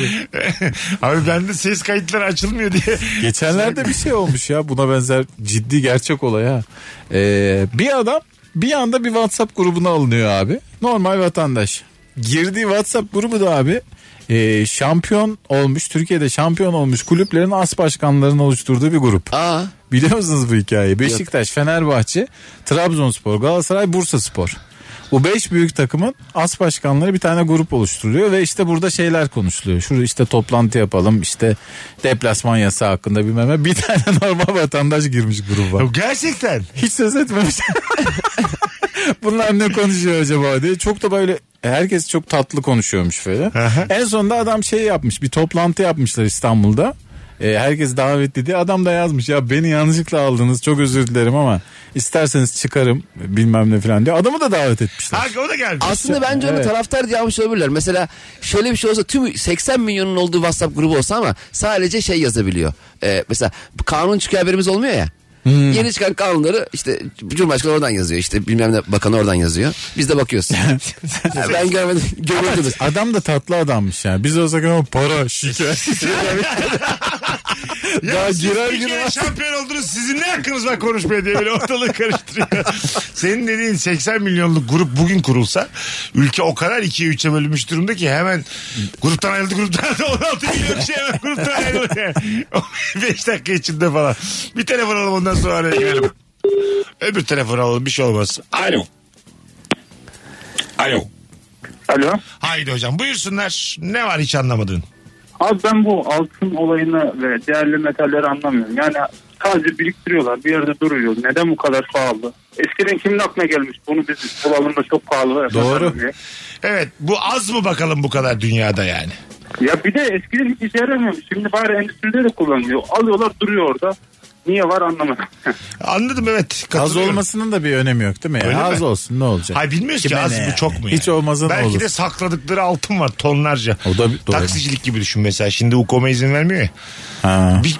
Abi bende ses kayıtları açılmıyor diye.
Geçenlerde bir şey olmuş ya buna benzer ciddi gerçek olay ha. Ee, bir adam bir anda bir WhatsApp grubuna alınıyor abi. Normal vatandaş. Girdiği WhatsApp grubu da abi e, şampiyon olmuş Türkiye'de şampiyon olmuş kulüplerin as başkanlarının oluşturduğu bir grup.
Aa.
Biliyor musunuz bu hikayeyi? Beşiktaş, Fenerbahçe, Trabzonspor, Galatasaray, Bursaspor. Bu beş büyük takımın as başkanları bir tane grup oluşturuluyor ve işte burada şeyler konuşuluyor. Şurada işte toplantı yapalım işte deplasman yasağı hakkında bilmem ne. Bir tane normal vatandaş girmiş gruba.
Ya Gerçekten.
Hiç ses etmemiş. Bunlar ne konuşuyor acaba diye. Çok da böyle herkes çok tatlı konuşuyormuş böyle.
Aha.
en sonunda adam şey yapmış bir toplantı yapmışlar İstanbul'da. E, herkes davetli diye adam da yazmış ya beni yanlışlıkla aldınız çok özür dilerim ama isterseniz çıkarım bilmem ne falan diye. Adamı da davet etmişler.
Ha, o da gelmiş.
Aslında bence onu
Evet.
taraftar diye almış olabilirler. Mesela şöyle bir şey olsa tüm 80 milyonun olduğu WhatsApp grubu olsa ama sadece şey yazabiliyor. Ee, mesela bu kanun çıkıyor haberimiz olmuyor ya. Yeni çıkan kanunları işte Cumhurbaşkanı oradan yazıyor. işte bilmem ne bakan oradan yazıyor. Biz de bakıyoruz. Ha, ben görmedim. Görüldünüz.
Adam da tatlı adammış yani. Biz olsak ama para şikayet.
ya
daha
siz
girer
bir kere
girmez.
şampiyon oldunuz. Sizin ne hakkınız var konuşmaya diye böyle ortalığı karıştırıyor. Senin dediğin 80 milyonluk grup bugün kurulsa ülke o kadar ikiye üçe bölünmüş durumda ki hemen gruptan ayrıldı gruptan ayrıldı 16 milyon kişi hemen gruptan ayrıldı. Yani. 5 dakika içinde falan. Bir telefon alalım ondan sonra araya girelim. Öbür telefon alalım bir şey olmaz.
Alo. Alo.
Alo.
Haydi hocam buyursunlar. Ne var hiç anlamadığın?
Abi ben bu altın olayını ve değerli metalleri anlamıyorum. Yani sadece biriktiriyorlar bir yerde duruyor. Neden bu kadar pahalı? Eskiden kimin aklına gelmiş bunu biz bulalım da çok pahalı.
Doğru.
Diye.
Evet bu az mı bakalım bu kadar dünyada yani?
Ya bir de eskiden hiç işe yaramıyormuş. Şimdi bari endüstride de kullanılıyor. Alıyorlar duruyor orada. Niye var anlamadım.
Anladım evet.
Az
katılıyorum.
olmasının da bir önemi yok değil mi?
Öyle
Yani az
mi?
olsun ne olacak?
Hayır bilmiyoruz ki
Kime
az
ne yani?
bu çok mu yani?
Hiç olmazsa ne
Belki
olur?
de sakladıkları altın var tonlarca.
O da bir- doğru.
Taksicilik gibi düşün mesela. Şimdi Ukoma izin vermiyor ya.
Ha.
Bir,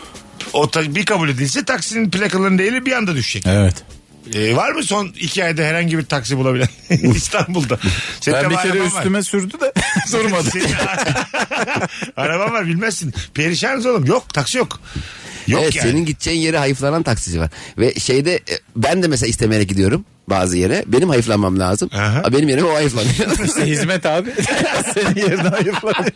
o ta- bir kabul edilse taksinin plakalarının değeri bir anda düşecek.
Evet.
Ee, var mı son iki ayda herhangi bir taksi bulabilen İstanbul'da? Senin
ben
tabii
bir kere
araban var.
üstüme sürdü de durmadı.
Senin- araban var bilmezsin. Perişanız oğlum. Yok taksi yok. Yok
E,
evet,
yani.
senin gideceğin yere hayıflanan taksici var. Ve şeyde e, ben de mesela istemeyerek gidiyorum bazı yere. Benim hayıflanmam lazım.
Aha.
Ama Benim yerime o hayıflanıyor.
İşte hizmet abi. Senin yerine hayıflanıyor.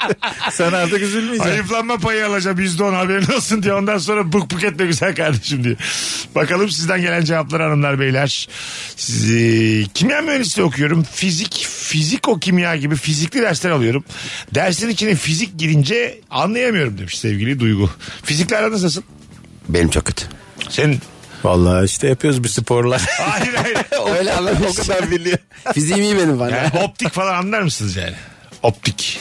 Sen artık üzülmeyeceksin.
Hayıflanma payı alacağım yüzde on haberin olsun diye. Ondan sonra bık bık etme güzel kardeşim diye. Bakalım sizden gelen cevaplar hanımlar beyler. Sizi, kimya mühendisliği okuyorum. Fizik, fiziko kimya gibi fizikli dersler alıyorum. Dersin içine fizik girince anlayamıyorum demiş sevgili Duygu. Fizikle aranız nasıl?
Benim çok kötü.
Senin...
Vallahi işte yapıyoruz bir sporlar.
Hayır hayır.
Öyle anlamış. o kadar biliyor. Fiziğim iyi benim bana.
Yani optik falan anlar mısınız yani? Optik.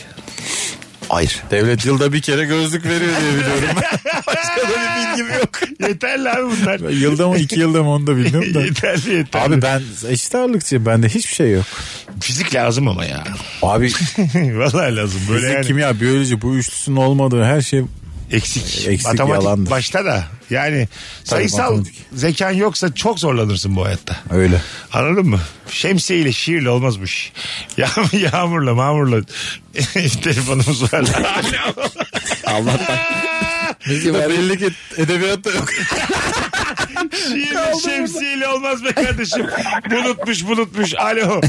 Hayır.
Devlet yılda bir kere gözlük veriyor diye biliyorum.
Başka da bir bilgim yok. Yeterli abi bunlar.
yılda mı iki yılda mı onu da bilmiyorum da.
yeterli yeterli.
Abi ben eşit ağırlıkçıyım. Bende hiçbir şey yok.
Fizik lazım ama ya.
Abi
Vallahi lazım. Böyle
fizik,
yani.
kimya, biyoloji bu üçlüsünün olmadığı her şey
Eksik.
Eksik,
matematik
yalandır.
başta da. Yani sayısal
matematik.
zekan yoksa çok zorlanırsın bu hayatta.
öyle.
Anladın mı? Şemsiye ile şiirle olmaz bu iş. Ya, yağmurla mağmurla telefonumuz var.
Allah'tan. Bizim
Belli ki edebiyat da yok.
şiirle şemsiyeyle olmaz be kardeşim. Bulutmuş bulutmuş. Alo.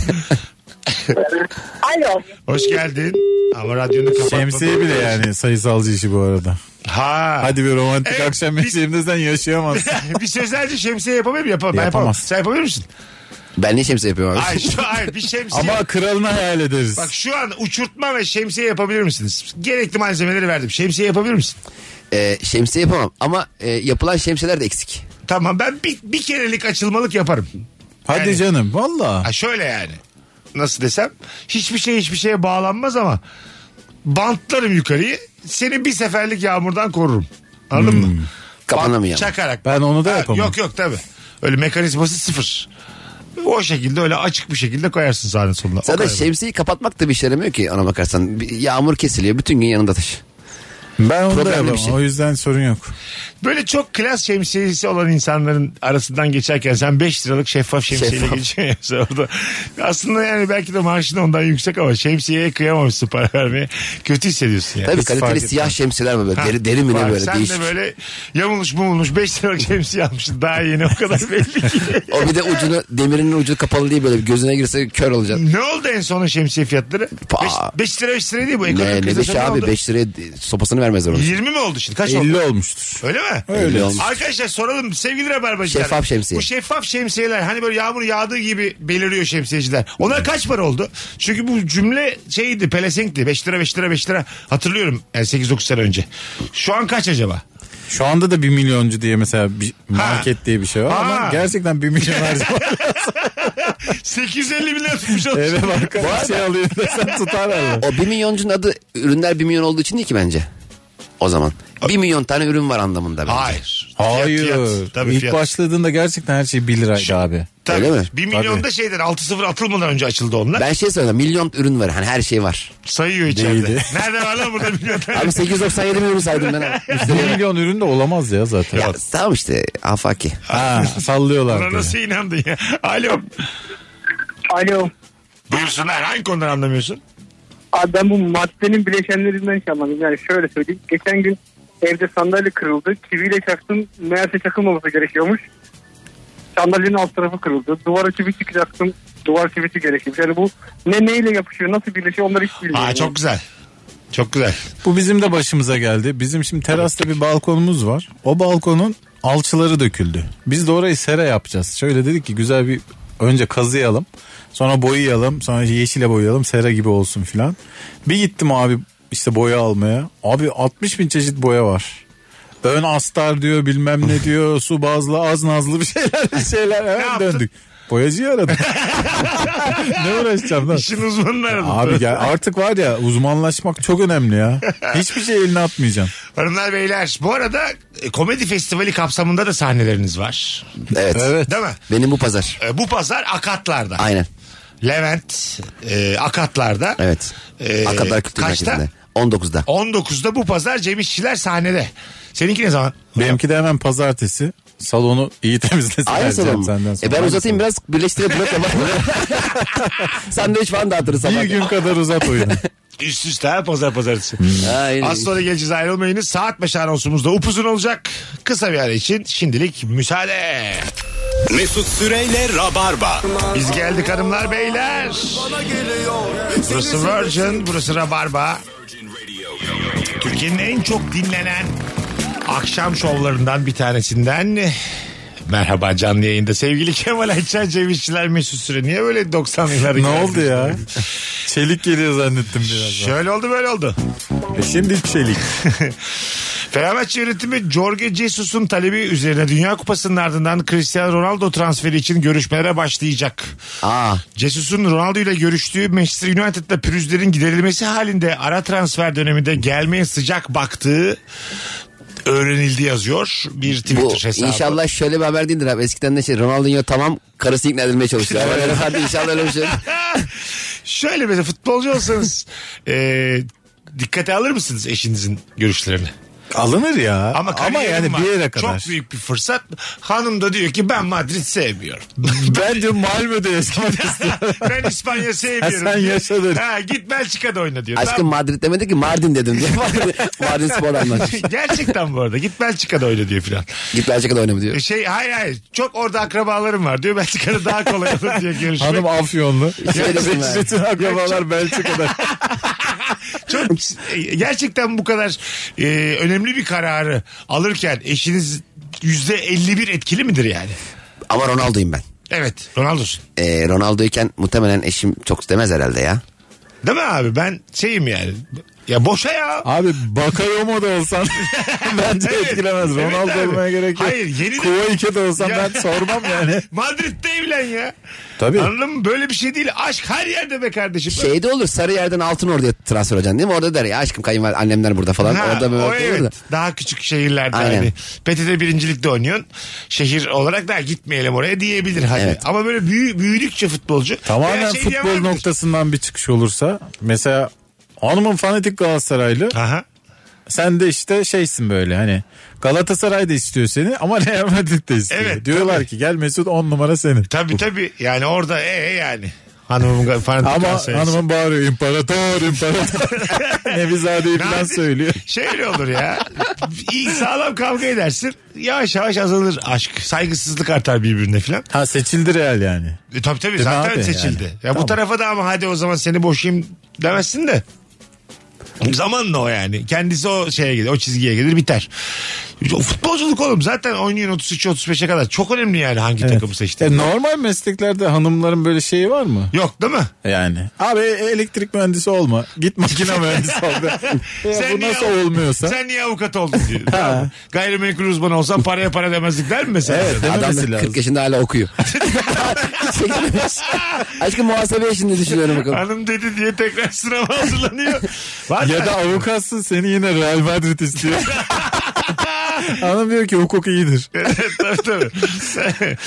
Alo.
Hoş geldin. Ama radyonu kapatma.
Şemsiye bile yani sayısalcı işi bu arada.
Ha.
Hadi bir romantik
Evet,
akşam
biz-
mesleğimde sen yaşayamazsın.
bir sözelci şemsiye yapamıyor mu? Yapamam. Ben
Yapamaz.
yapamam. Sen yapabilir misin?
Ben niye şemsiye yapıyorum abi?
Hayır, şu, hayır bir şemsiye.
Ama kralını hayal ederiz.
Bak şu an uçurtma ve şemsiye yapabilir misiniz? Gerekli malzemeleri verdim. Şemsiye yapabilir misin?
Ee, şemsiye yapamam ama e, yapılan şemsiyeler de eksik.
Tamam ben bir, bir kerelik açılmalık yaparım.
Hadi
yani-
canım valla.
Ha şöyle yani. Nasıl desem? Hiçbir şey hiçbir şeye bağlanmaz ama bantlarım yukarıyı. Seni bir seferlik yağmurdan korurum. Anladın mı?
Kapanamıyor. ama.
Çakarak.
Hmm. Ben onu da
Ha,
yapamam.
Yok yok tabii. Öyle mekanizması sıfır. O şekilde öyle açık bir şekilde koyarsın sahne sonuna. O
Zaten
kadar.
şemsiyeyi kapatmak da bir işe yaramıyor ki ona bakarsan. Bir Yağmur kesiliyor bütün gün yanında taş.
Ben onu da
Problemli bir
yapamam.
şey.
O yüzden sorun yok.
Böyle çok klas şemsiyesi olan insanların arasından geçerken sen 5 liralık şeffaf şemsiyeyle
Şeffaf.
geçiyorsun orada. Aslında yani belki de maaşın ondan yüksek ama şemsiyeye kıyamamışsın para vermeye. Kötü hissediyorsun yani.
Tabii
hiç fark
kaliteli
etmez.
siyah şemsiyeler var böyle.
Ha,
Deri, deri mi
var.
ne böyle
Sen
değişik.
de böyle yamulmuş bumulmuş 5 liralık şemsiye almışsın. Daha yeni o kadar belli ki.
O bir de ucunu demirinin ucu kapalı diye böyle bir gözüne girse kör olacaksın.
ne oldu en son o şemsiye fiyatları?
Pa-
5 lira 5 lira değil bu.
Ne,
Ekonomik
ne
krize
beş
sonra
abi
oldu?
5 liraya de- sopasını vermez onu.
20 mi oldu şimdi? Kaç oldu?
50 olmuştur.
Öyle mi?
Öyle olmuş.
Arkadaşlar soralım sevgili rabarbacılar.
Şeffaf şemsiye.
Bu şeffaf şemsiyeler hani böyle yağmur yağdığı gibi beliriyor şemsiyeciler. Onlar kaç para oldu? Çünkü bu cümle şeydi pelesenkti. 5 lira 5 lira 5 lira hatırlıyorum yani 8-9 sene önce. Şu an kaç acaba?
Şu anda da 1 milyoncu diye mesela bir market diye bir şey var
Ha.
ama gerçekten 1 milyon harcama.
850 bin lira tutmuş olmuş.
Eve marka bir şey alıyor desen tutar herhalde.
O 1 milyoncunun adı ürünler 1 milyon olduğu için değil ki bence. O zaman. 1 milyon tane ürün var anlamında bence.
Hayır.
Hayır.
Fiyat, fiyat. Tabii
İlk
fiyat.
başladığında gerçekten her şey 1 liraydı abi.
Tabii.
Öyle mi?
1 milyon da şeyden 6-0 atılmadan önce açıldı onlar.
Ben şey söylüyorum milyon ürün var hani her şey var.
Sayıyor içeride.
Değildi.
Nerede var lan burada milyon tane?
Abi 897 bin ürün saydım ben. abi.
1 milyon ürün de olamaz ya zaten.
Ya, tamam işte afaki.
Ha,
Buna
sallıyorlar.
nasıl inandın ya? Alo.
Alo.
Buyursunlar hangi konudan anlamıyorsun?
Abi ben bu maddenin bileşenlerinden hiç anlamadım. Yani şöyle söyleyeyim. Geçen gün evde sandalye kırıldı. Kiviyle çaktım. Meğerse çakılmaması gerekiyormuş. Sandalyenin alt tarafı kırıldı. Duvara çivisi çaktım. Duvar çivisi gerekiyormuş. Yani bu ne neyle yapışıyor, nasıl birleşiyor onları hiç bilmiyorum.
Aa, çok güzel. Çok güzel.
Bu bizim de başımıza geldi. Bizim şimdi terasta bir balkonumuz var. O balkonun alçıları döküldü. Biz de orayı sera yapacağız. Şöyle dedik ki güzel bir önce kazıyalım. Sonra boyayalım. Sonra yeşile boyayalım. Sera gibi olsun filan. Bir gittim abi işte boya almaya. Abi 60 bin çeşit boya var. Ön astar diyor bilmem ne diyor su bazlı az nazlı bir şeyler bir şeyler hemen
yaptın?
döndük. Boyacıyı aradım. ne uğraşacağım lan?
İşin uzmanını aradım.
Abi gel artık var ya uzmanlaşmak çok önemli ya. Hiçbir şey eline atmayacaksın.
Hanımlar beyler bu arada e, komedi festivali kapsamında da sahneleriniz var.
Evet.
Değil mi?
Benim bu pazar.
E, bu pazar Akatlar'da.
Aynen.
Levent e, Akatlar'da.
Evet.
E,
Akadar Kültür
kaçta?
Merkezi'nde. 19'da.
19'da bu pazar Cem İşçiler sahnede. Seninki ne zaman?
Benimki de hemen pazartesi. Salonu iyi temizlesin.
Aynı
vereceğim
salon mu?
senden sonra.
E ben
Aynı
uzatayım
salon.
biraz birleştirip blok yapalım. Sandviç falan dağıtırız sabah.
Bir gün kadar uzat oyunu.
Üst üste ha, pazar pazartesi.
Aynen.
Az sonra geleceğiz ayrılmayınız. Saat 5 anonsumuz da upuzun olacak. Kısa bir ara için şimdilik müsaade.
Mesut Süreyle Rabarba.
Biz geldik hanımlar beyler. Burası Virgin, burası Rabarba. Türkiye'nin en çok dinlenen akşam şovlarından bir tanesinden Merhaba canlı yayında sevgili Kemal Ayça Cevişçiler Mesut Süre. Niye böyle 90'ların
ne oldu ya? Çelik geliyor zannettim biraz. daha.
Şöyle oldu böyle oldu.
E şimdi çelik.
Fenerbahçe yönetimi Jorge Jesus'un talebi üzerine Dünya Kupası'nın ardından Cristiano Ronaldo transferi için görüşmelere başlayacak.
Aa,
Jesus'un Ronaldo ile görüştüğü Manchester United'da pürüzlerin giderilmesi halinde ara transfer döneminde gelmeye sıcak baktığı öğrenildi yazıyor bir Twitter
bu
hesabı.
inşallah şöyle bir haber değildir abi. Eskiden de şey Ronaldinho tamam karısı ikna edilmeye çalışıyor. Ama öyle hadi inşallah öyle bir şey.
Ah, Şöyle mesela futbolcu olsanız e, dikkate alır mısınız eşinizin görüşlerini?
Alınır ya. Ama,
Ama, kariyerim
yani
var.
bir yere kadar.
Çok büyük bir fırsat. Hanım da diyor ki ben Madrid sevmiyorum.
Bence Malmö'de yaşamak istiyorum.
ben İspanya sevmiyorum.
Ha, sen
diyor.
yaşadın.
Ha, git Belçika'da oyna diyor.
Aşkım Madrid demedi ki Mardin dedim diye. Mardin spor anlaşmış.
Lan- Gerçekten bu arada git Belçika'da oyna diyor filan.
Git Belçika'da oynama diyor.
Şey hayır hayır çok orada akrabalarım var diyor Belçika'da daha kolay olur diyor görüşmek.
Hanım Afyonlu.
Söylesin ben.
Bütün akrabalar Belçika'da.
Çok e, gerçekten bu kadar e, önemli bir kararı alırken eşiniz yüzde 51 etkili midir yani?
Ama Ronaldo'yum ben.
Evet Ronaldo'sun.
Ee, Ronaldo'yken muhtemelen eşim çok demez herhalde ya.
Değil mi abi ben şeyim yani. Ya boşa ya.
Abi Bakayomo da olsan bence
Evet.
etkilemez.
Evet
Ronaldo
abi.
olmaya gerek yok.
Hayır, yeni de-
Kuvayke de olsan
Ya.
ben sormam yani.
Madrid'de evlen ya.
Tabii.
Anladın mı? Böyle bir şey değil. Aşk her yerde be kardeşim.
Şeyde Şey olur Sarıyer'den Altınordu'ya transfer olacaksın değil mi? Orada der ya aşkım kayınval annemler burada falan.
Ha,
Orada böyle
o
olur
evet.
da.
Daha küçük şehirlerde
Aynen.
hani. PTT birincilikte oynuyorsun. Şehir olarak daha gitmeyelim oraya diyebilir hani.
Evet.
Ama böyle büyü, büyüdükçe futbolcu.
Tamamen
veya şey
futbol
diyemeyebilir.
noktasından bir çıkış olursa mesela hanımın fanatik Galatasaraylı
Aha.
sen de işte şeysin böyle hani Galatasaray da istiyor seni ama Real Madrid de istiyor.
Evet,
Diyorlar
tabii.
ki gel Mesut 10 numara senin.
Tabii tabii. Yani orada e e yani. Hanımın falan.
Ama hanımın bağırıyor imparator imparator. Nevizade'yi falan
Nadir.
söylüyor.
Şöyle olur ya. İyi sağlam kavga edersin. Yavaş yavaş azalır aşk. Saygısızlık artar birbirine filan.
Ha seçildi Real yani.
E, tabii tabii
mi
zaten
abi?
seçildi.
Yani.
Ya bu
Tamam.
tarafa da ama hadi o zaman seni boşayayım demezsin de. Zamanla o yani. Kendisi o şeye gelir, o çizgiye gelir biter. O futbolculuk oğlum zaten oynuyor 33-35'e kadar. Çok önemli yani hangi takımı seçtiğin.
E, normal mesleklerde hanımların böyle şeyi var mı?
Yok değil mi?
Yani. Abi elektrik mühendisi olma. Git makine mühendisi ol. be. Ya bu
niye
nasıl
av-
olmuyorsa.
Sen niye avukat oldun diyor. Tamam mı? Gayrimenkul uzmanı olsan paraya para demezdik der mi mesela?
Evet,
Adam-
Adam da
Dememesi
40
lazım.
yaşında hala okuyor. Hiç çekilmemiş. Aşkım muhasebe işini düşünüyorum bakalım.
Hanım dedi diye tekrar sınava hazırlanıyor. Var
Ya da avukatsın seni yine Real Madrid istiyor. Hanım diyor ki hukuk iyidir.
Evet, tabii tabii.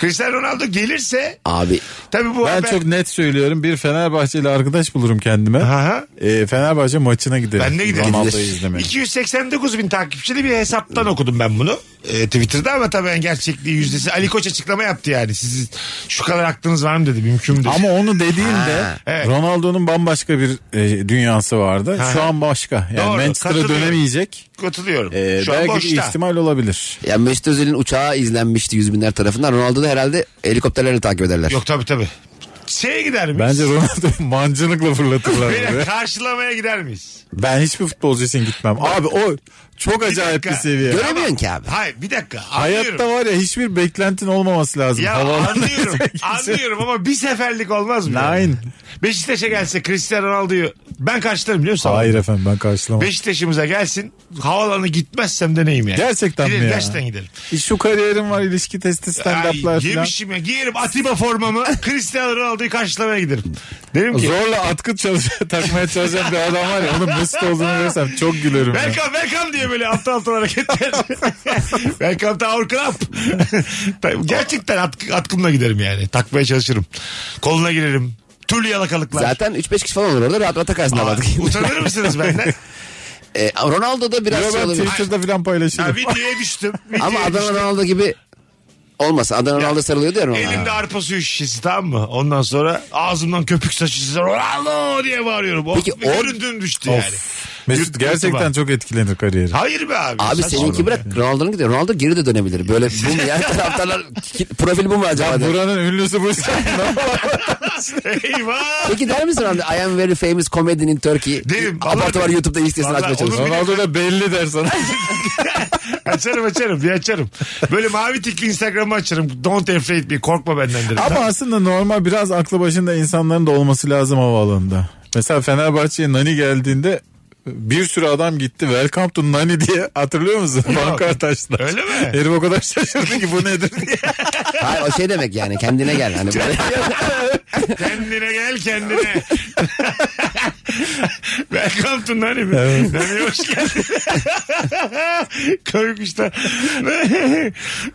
Cristiano Ronaldo gelirse
Abi
tabii bu
Ben
haber...
çok net söylüyorum. Bir Fenerbahçeli arkadaş bulurum kendime.
Aha.
E, Fenerbahçe maçına giderim.
Ben de giderim.
Ronaldo'yu izlemeye.
289 bin takipçili bir hesaptan okudum ben bunu. Ee, Twitter'da ama tabii yani gerçekliği yüzdesi. Ali Koç açıklama yaptı yani. Siz şu kadar aklınız var mı dedi. Mümkün mü dedi.
Ama onu dediğinde
evet.
Ronaldo'nun bambaşka bir e, dünyası vardı.
Ha.
Şu an başka. Yani
Doğru,
Manchester'a
katılıyorum.
dönemeyecek.
Katılıyorum.
E,
şu an
belki bir
boşta.
ihtimal olabilir.
ya Mesut Özil'in uçağı izlenmişti yüz binler tarafından. Ronaldo da herhalde helikopterlerle takip ederler.
Yok tabii tabii. Şeye gider miyiz?
Bence Ronaldo mancınıkla fırlatırlar.
Beyler,
buraya.
karşılamaya gider miyiz?
ben hiçbir futbolcu için gitmem. Abi o Çok acayip bir
dakika.
seviye.
Göremiyorsun ki abi.
Hayır bir dakika. Anlıyorum.
Hayatta var ya hiçbir beklentin olmaması lazım. şey.
Ya
Havalandan
anlıyorum.
kimse-
anlıyorum ama bir seferlik olmaz mı? yani?
Nein.
Beşiktaş'a gelse Cristiano Ronaldo'yu ben karşılarım biliyor musun?
Hayır efendim ben karşılamam.
Beşiktaş'ımıza gelsin. Havalarına gitmezsem de neyim yani?
Gerçekten mi
gidelim,
ya?
Gerçekten gidelim.
Şu kariyerim var ilişki testi stand-up'lar
Ay,
falan.
yemişim ya. Giyerim Atiba formamı. Cristiano Ronaldo'yu karşılamaya giderim. Derim ki.
Zorla atkı çalış- takmaya çalışan bir adam var ya onun mesut olduğunu görsem çok gülerim. ya.
Welcome welcome diye böyle aptal aptal hareketler. welcome to our club. Gerçekten at, atkımla giderim yani. Takmaya çalışırım. Koluna girerim. Türlü yalakalıklar.
Zaten 3-5 kişi falan olur orada rahat rahat takarsın
Aa,
havadaki.
utanır mısınız benden?
E, Ronaldo da biraz
Yo,
şey
ben
olabilir.
Twitter'da falan
Ya
paylaşırım.
videoya düştüm. Videoya
Ama Adana
düştüm.
Ronaldo gibi olmasa Adana Ronaldo sarılıyordu ya Ronaldo.
Elimde arpa suyu şişesi tamam mı? Ondan sonra ağzımdan köpük saçı size Ronaldo diye bağırıyorum. Of,
Peki
bir
o-
göründüm düştü yani. Yurt-
Mesut gerçekten
yurtuma.
çok etkilenir kariyeri.
Hayır be abi.
Abi
saçma
seninki
olur
bırak
ya.
Ronaldo'nun gidiyor. Ronaldo geri de dönebilir. Böyle bu mu ya? Taraftarlar ki- profil bu mu acaba?
Ya
diye.
buranın ünlüsü bu.
Eyvah.
Peki der misin Ronaldo? I am very famous comedian in Turkey.
Derim,
Abartı var
anladım.
YouTube'da ilk sitesini
Vallahi
açmaya çalışıyor.
onu
Ronaldo da belli der sana.
açarım açarım bir açarım. Böyle mavi tikli Instagram'ı açarım. Don't afraid me korkma benden derim.
Ama aslında normal biraz aklı başında insanların da olması lazım havaalanında. Mesela Fenerbahçe'ye Nani geldiğinde bir sürü adam gitti. Welcome to Nani diye hatırlıyor musun? Bankart açtılar.
Öyle mi?
Herif o kadar şaşırdı ki bu nedir diye.
Hayır o şey demek yani kendine gel. Hani böyle.
Kendine gel kendine. Welcome to Nani mi? Nani hoş geldin. Koymuşlar.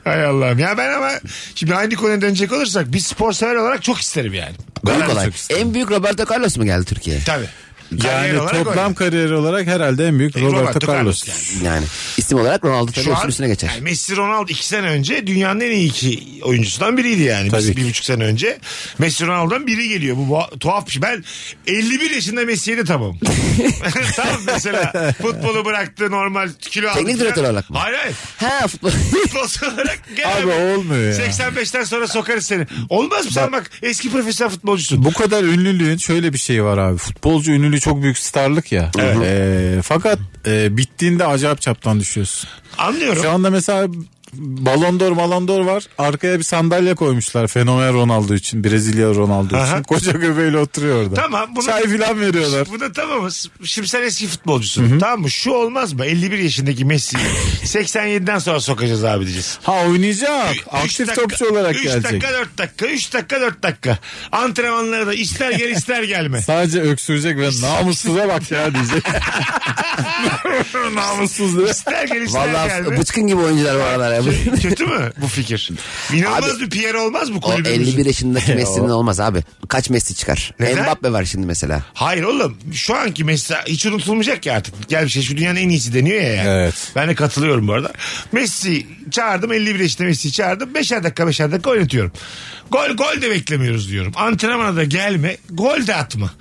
Hay Allah'ım. Ya ben ama şimdi aynı konuya dönecek olursak biz spor sever olarak çok isterim yani.
Kolay
Galatasaray
kolay.
çok isterim.
En büyük Roberto Carlos mu geldi Türkiye'ye?
Tabii. Kariyer
Yani
olarak
toplam
öyle.
kariyeri olarak herhalde en büyük
E,
Roberto,
Roberto Carlos
Carlos.
yani.
Yani isim olarak Ronaldo tabii
Şu
hepsinin
an
üstüne geçer.
yani Messi Ronaldo iki sene önce dünyanın en iyi iki oyuncusundan biriydi yani. Biz
Tabii ki.
bir buçuk sene önce Messi Ronaldo'dan biri geliyor. Bu bu- tuhaf bir şey. Ben 51 yaşında Messi'ye de tamam. Tam mesela futbolu bıraktı normal kilo aldı.
Teknik
falan.
direktör olarak mı?
Hayır hayır.
Ha futbol.
Futbolcu olarak gel
Abi olmuyor ya.
85'ten sonra sokarız seni. Olmaz mı sen bak eski profesyonel futbolcusun.
Bu kadar ünlülüğün şöyle bir şeyi var abi. Futbolcu ünlülüğü çok büyük starlık ya. Ee, fakat e, bittiğinde acayip çaptan düşüyorsun.
Anlıyorum.
Şu anda mesela Ballon d'Or Ballon d'Or var. Arkaya bir sandalye koymuşlar. Fenomen Ronaldo için. Brezilya Ronaldo
Aha.
için. Koca göbeğiyle oturuyor orada.
Tamam, bunu-
Çay filan veriyorlar.
Bu da tamamız. Şimdi sen eski futbolcusun. Tamam mı? Şu olmaz mı? 51 yaşındaki Messi'yi 87'den sonra sokacağız abi diyeceğiz.
Ha oynayacak.
Üç
Aktif
dakika-
topçu olarak
üç
gelecek.
dakika 4 dakika 3 dakika 4 dakika. Antrenmanlara da ister gel ister gelme.
Sadece öksürecek ve namussuza bak ya diyecek. Namussuz diye.
İster gel ister gelme.
Vallahi bıçkın gibi oyuncular var aralar. ya.
Kötü mü bu fikir? İnanılmaz bir Pierre olmaz mı
O
kulübümüzün?
51 yaşındaki Messi'nin olmaz abi. Kaç Messi çıkar?
Neden?
Mbappe var şimdi mesela.
Hayır oğlum şu anki Messi hiç unutulmayacak ki artık. Gel bir şey şu dünyanın en iyisi deniyor ya. Yani.
Evet.
Ben de katılıyorum bu arada. Messi çağırdım 51 yaşında Messi'yi çağırdım. 5'er dakika 5'er dakika oynatıyorum. Gol gol de beklemiyoruz diyorum. Antrenmana da gelme gol de atma.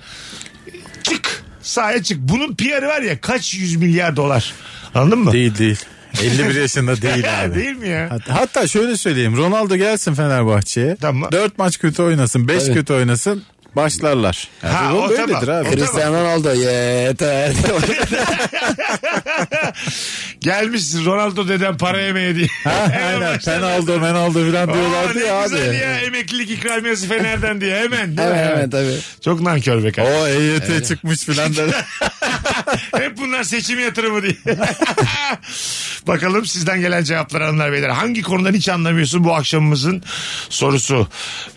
Çık sahaya çık. Bunun PR'ı var ya kaç yüz milyar dolar. Anladın mı?
Değil değil. 51 yaşında değil abi.
Değil mi ya?
Hat- Hatta şöyle söyleyeyim. Ronaldo gelsin Fenerbahçe'ye.
Tamam.
4 maç kötü oynasın. 5 kötü oynasın. Başlarlar. Yani
Ha,
bu
o
böyledir
tamam. O
abi.
tamam.
Cristiano Ronaldo yeter.
Gelmişsin Ronaldo deden para yemeye diye.
Ha,
Hemen
aynen.
başladı.
Penaldo, menaldo falan diyorlardı
Aa,
ya
ne
abi.
güzel ya emeklilik ikramiyesi Fener'den diye hemen. değil mi?
Hemen hemen tabii.
Çok nankör be kardeşim.
O EYT çıkmış filan da.
Hep bunlar seçim yatırımı diye. Bakalım sizden gelen cevaplar hanımlar beyler. Hangi konudan hiç anlamıyorsun bu akşamımızın sorusu.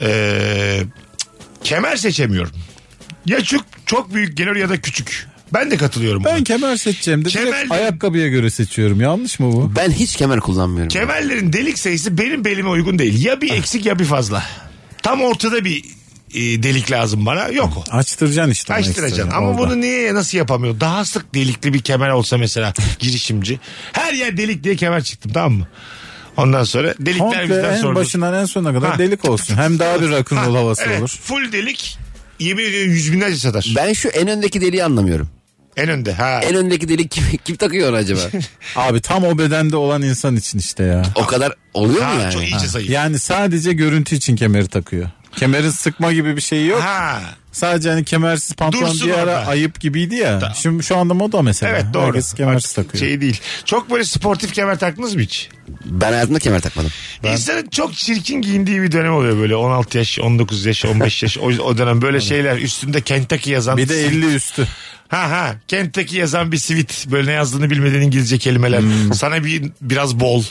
Ee, kemer seçemiyorum. Ya çok, çok büyük gelir ya da küçük. Ben de katılıyorum.
ben
buna.
kemer seçeceğim de direkt
Kemer-
ayakkabıya göre seçiyorum. Yanlış mı bu?
Ben hiç kemer kullanmıyorum.
Kemerlerin delik sayısı benim belime uygun değil. Ya bir eksik ya bir fazla. Tam ortada bir e, delik lazım bana. Yok o.
Açtıracaksın işte. onu
Açtıracaksın.
ekstra
Ama
orada.
bunu niye nasıl yapamıyor? Daha sık delikli bir kemer olsa mesela girişimci. Her yer delik diye kemer çıktım tamam mı? Ondan sonra delikler
Komple
bizden
en
sorulur.
başından en sonuna kadar
Ha.
delik olsun. Hem daha bir rock'n'roll
Ha,
havası
evet,
olur.
Full delik yemin ediyorum yüz binlerce satar.
Ben şu en öndeki deliği anlamıyorum.
En önde ha.
En öndeki delik kim, kim takıyor onu acaba?
Abi tam o bedende olan insan için işte ya.
O kadar oluyor
Ha,
mu yani?
Çok iyice zayıf.
Yani sadece görüntü için kemeri takıyor. Kemerin sıkma gibi bir şey yok.
Ha.
Sadece hani kemersiz pantolon
Dursun
bir ara
orada.
ayıp gibiydi ya.
Tamam.
Şimdi şu anda moda mesela.
Evet doğru.
Herkes kemersiz
Artık
takıyor.
Şey değil. Çok böyle sportif kemer taktınız mı hiç?
Ben hayatımda kemer takmadım.
İnsanın çok çirkin giyindiği bir dönem oluyor böyle 16 yaş, 19 yaş, 15 yaş o, o dönem böyle şeyler üstünde Kentucky yazan.
Bir de 50 üstü.
Ha ha Kentucky yazan bir sivit böyle ne yazdığını bilmediğin İngilizce kelimeler. Sana bir biraz bol,